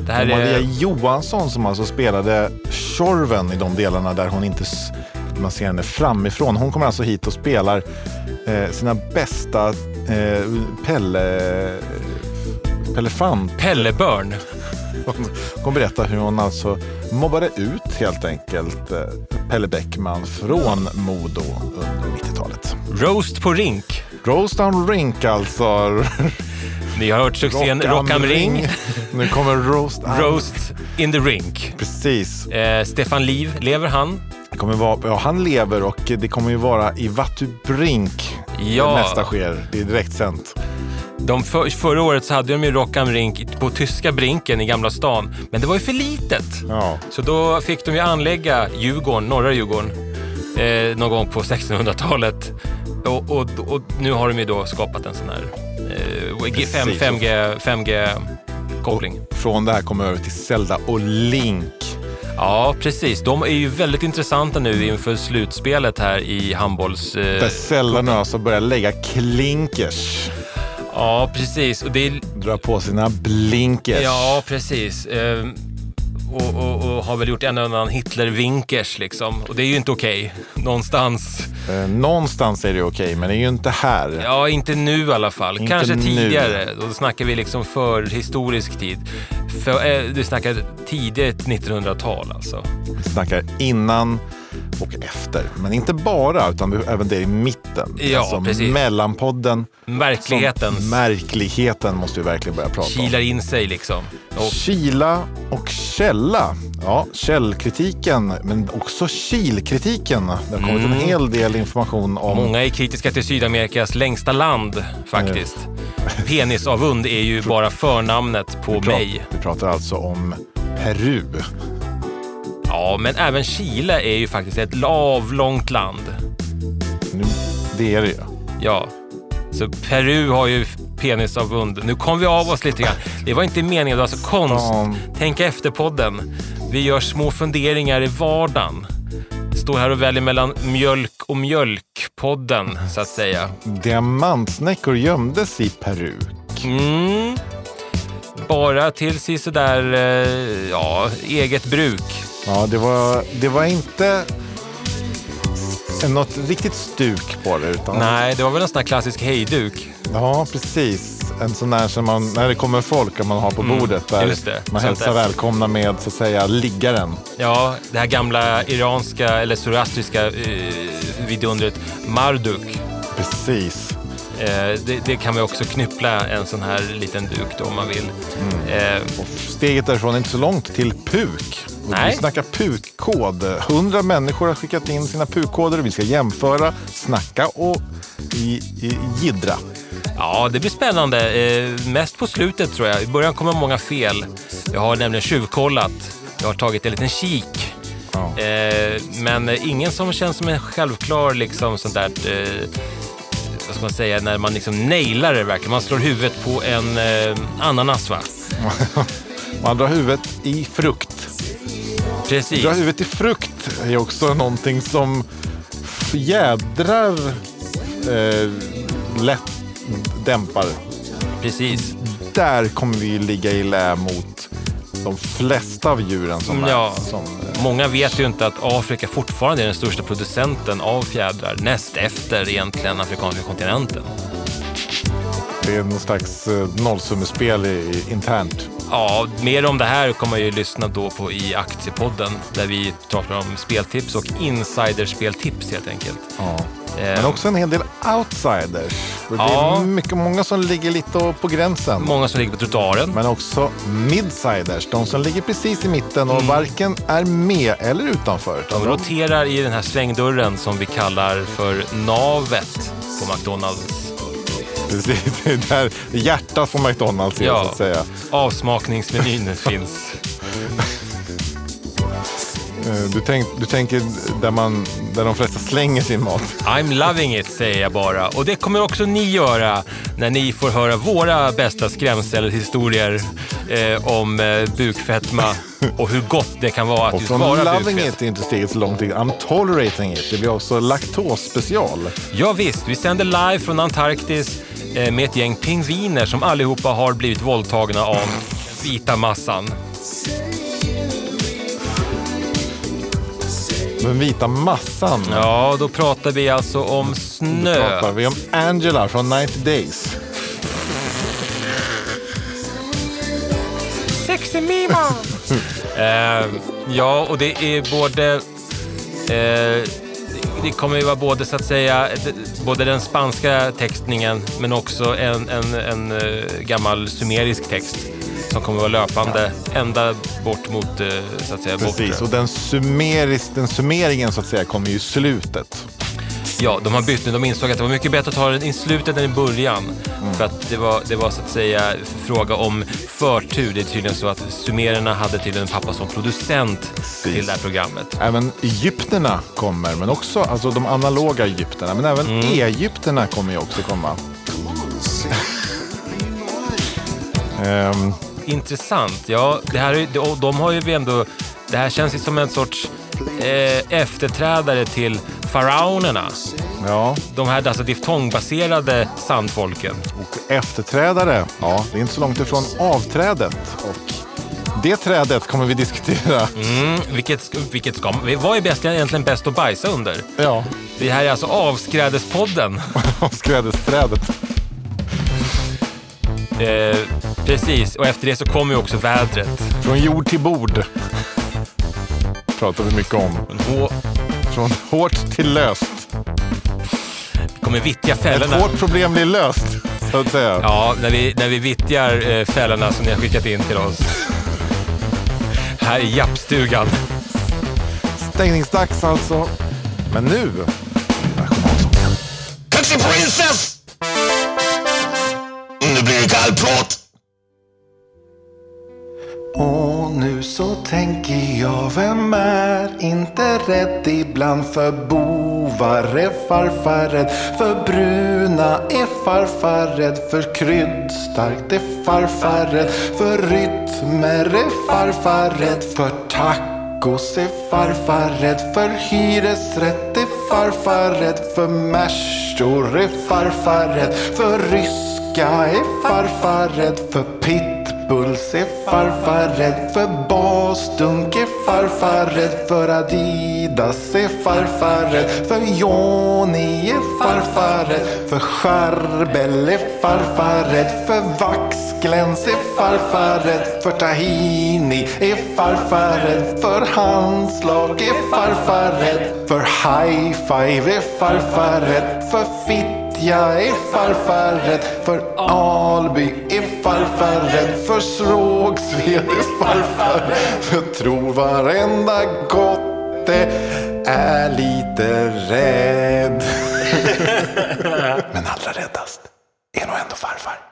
S2: Det här
S1: Maria
S2: är...
S1: Johansson som alltså spelade Tjorven i de delarna där hon inte s- man ser henne framifrån. Hon kommer alltså hit och spelar eh, sina bästa eh, Pelle... Pellefant.
S2: Pellebörn.
S1: Hon kommer berätta hur hon alltså mobbade ut helt enkelt eh, Pelle Bäckman från Modo under 90-talet.
S2: Roast på rink.
S1: Rose Down Rink alltså.
S2: Ni har hört succén Rock am ring.
S1: Nu kommer Roast Down.
S2: Roast in the rink.
S1: Precis.
S2: Eh, Stefan Liv, lever han?
S1: Det kommer vara, ja, han lever och det kommer ju vara i Vattubrink
S2: Ja.
S1: nästa sker. Det är direktsänt.
S2: De för, förra året så hade de ju Rock am Rink på tyska Brinken i Gamla stan, men det var ju för litet.
S1: Ja.
S2: Så då fick de ju anlägga Djurgården, norra Djurgården, eh, någon gång på 1600-talet. Och, och, och nu har de ju då skapat en sån här eh, G- fem-
S1: Precis.
S2: 5G, 5G-koppling.
S1: Från det här kommer vi över till Zelda och Link.
S2: Ja, precis. De är ju väldigt intressanta nu inför slutspelet här i handbolls... eh,
S1: Där Zelda nu alltså börjar lägga klinkers.
S2: Ja, precis. Och det är
S1: Dra på sina blinkers.
S2: Ja, precis. Ehm, och, och, och har väl gjort en och annan Hitler-vinkers liksom. Och det är ju inte okej. Någonstans.
S1: Eh, någonstans är det okej, men det är ju inte här.
S2: Ja, inte nu i alla fall.
S1: Inte
S2: Kanske
S1: nu.
S2: tidigare. Då snackar vi liksom förhistorisk tid. För, eh, du snackar tidigt 1900-tal alltså.
S1: Vi snackar innan och efter. Men inte bara, utan vi- även det i mitten. Alltså
S2: Ja, precis.
S1: mellanpodden. som
S2: Verklighetens
S1: Märkligheten måste vi verkligen börja prata om.
S2: kilar in sig liksom. Och
S1: Kila och källa. Ja, källkritiken, men också kilkritiken. Det har kommit en hel del information om...
S2: Mm. många är kritiska till Sydamerikas längsta land faktiskt. Penisavund är ju bara förnamnet på
S1: Pra-
S2: mig.
S1: Vi pratar alltså om Peru.
S2: Ja, men även Chile är ju faktiskt ett avlångt land.
S1: Nu, det är det ju.
S2: Ja, så Peru har ju penisavund. Nu kom vi av oss lite grann. Det var inte meningen, det var alltså konst.
S1: Ja.
S2: Tänk efter podden. Vi gör små funderingar i vardagen. Står här och väljer mellan mjölk och mjölkpodden, så att säga.
S1: Diamantsnäckor gömdes i Peru.
S2: Mm. Bara tills i sådär, eh, ja, eget bruk.
S1: Ja, det var, det var inte något riktigt stuk på det. Utan
S2: Nej, det var väl en sån här klassisk hejduk.
S1: Ja, precis. En sån där som man, när det kommer folk och man har på
S2: Mm,
S1: bordet där
S2: just det.
S1: man
S2: Sånt där.
S1: hälsar välkomna med så att säga liggaren.
S2: Ja, det här gamla iranska eller zoroastriska eh, vidundret Marduk.
S1: Precis.
S2: Eh, det, det kan man också knyppla en sån här liten duk då om man vill. Eh,
S1: Steget därifrån är inte så långt till PUK. Och
S2: Nej.
S1: Vi snackar PUK-kod. 100 människor har skickat in sina PUK-koder. Vi ska jämföra, snacka och i, i, jiddra.
S2: ja, det blir spännande. Eh, mest på slutet tror jag. I början kommer många fel. Jag har nämligen tjuvkollat. Jag har tagit en liten kik. Eh, men eh, ingen som känns som en självklar liksom sånt där... Eh, vad ska man säga? När man liksom nailar det verkligen. Man slår huvudet på en eh, ananas va?
S1: Man drar huvudet i frukt.
S2: Precis.
S1: Dra huvudet i frukt är också någonting som fjädrar eh, lätt dämpar.
S2: Precis.
S1: Där kommer vi ju ligga i lä mot de flesta av djuren som
S2: ja,
S1: är. Som, eh,
S2: Många vet ju inte att Afrika fortfarande är den största producenten av fjädrar, näst efter egentligen afrikanska kontinenten.
S1: det är någon slags eh, nollsummespel i, i, internt.
S2: Ja, mer om det här kommer man ju lyssna då på i Aktiepodden där vi pratar om speltips och insiderspeltips helt enkelt. Eh,
S1: Men också en hel del outsiders. Och Det
S2: Ja.
S1: är mycket, många som ligger lite på gränsen.
S2: Många som ligger på trottoaren.
S1: Men också midsiders, de som ligger precis i mitten
S2: Mm.
S1: och varken är med eller utanför. utan
S2: De
S1: de-
S2: roterar i den här svängdörren som vi kallar för navet på McDonalds.
S1: Precis, det är där hjärtat på McDonalds är så att säga.
S2: avsmakningsmenyn finns.
S1: Eh, Du, tänk, du tänker där, man, där de flesta slänger sin mat.
S2: I'm loving it, säger jag bara. Och det kommer också ni göra när ni får höra våra bästa skrämselhistorier eh, om eh, bukfetma och hur gott det kan vara att
S1: Och
S2: just
S1: från
S2: vara
S1: loving
S2: bukfett.
S1: it är inte steget så långt till I'm tolerating it. Det blir också laktosspecial.
S2: Ja, visst, vi sänder live från Antarktis eh, med ett gäng pingviner som allihopa har blivit våldtagna av vita massan.
S1: Den vita massan.
S2: Ja, då pratar vi alltså om
S1: Då
S2: snö.
S1: pratar vi om Angela från 90 Days.
S2: Sexy Mima! eh, ja, och det är både... Eh, det kommer ju vara både så att säga d- både den spanska textningen men också en, en, en eh, gammal sumerisk text som kommer vara löpande ända bort mot eh, så att säga
S1: Precis,
S2: bortre.
S1: och den, summeris, den summeringen så att säga kommer ju i slutet.
S2: Ja, de har bytt nu. De insåg att det var mycket bättre att ta den i slutet än i början. För att det var, det var så att säga fråga om förtur. Det är tydligen så att sumererna hade tydligen en pappa som producent till det här programmet.
S1: Även egyptierna kommer, men också alltså de analoga egyptierna. Men även egyptierna kommer ju också komma. Ehm,
S2: Intressant. Ja, det här, är ju- de, de har ju ändå... Det här känns ju som en sorts eh, efterträdare till faraonerna.
S1: ja,
S2: De här alltså diftongbaserade sandfolken.
S1: och efterträdare. Ja, det är inte så långt ifrån avträdet. Och det trädet kommer vi diskutera.
S2: Mm, vilket, vilket ska, vad är bäst, egentligen bäst att bajsa under?
S1: Ja,
S2: Det här är alltså Avskrädespodden.
S1: avskrädesträdet.
S2: Eh, precis, och efter det så kommer ju också vädret.
S1: Från jord till bord. Pratar vi mycket om.
S2: Då
S1: Från hårt till löst.
S2: kommer vittja
S1: Ett
S2: fällorna.
S1: hårt problem blir löst, så att säga.
S2: Ja, när vi, när vi vittjar eh, fällorna som ni har skickat in till oss. Här i jappstugan.
S1: Stängningsdags alltså. Men nu, nationalsången.
S4: Country Princess! Nu blir det kallprat!
S12: Och nu så tänker jag, vem är inte rätt ibland för bovar är farfar rädd, för bruna är farfar rädd, för kryddstarkt är farfar rädd, för rytmer är farfar rädd, för tacos är farfar rädd, för hyresrätt är farfar rädd, för märsor är farfar rädd, för ryska är farfar rädd, för pitt Bulls är farfar rädd för basdunk är farfar rädd för Adidas är farfar rädd för Johnny är farfar rädd för Charbel är farfar rädd för Vaxgläns är farfar rädd för Tahini är farfar rädd för handslag är farfar rädd för high five eh, är farfar rädd för fitt jag är farfar rädd för Alby är farfar rädd för Svrågsved är farfar rädd för tror varenda gotte är lite rädd. Men allra räddast är nog ändå farfar.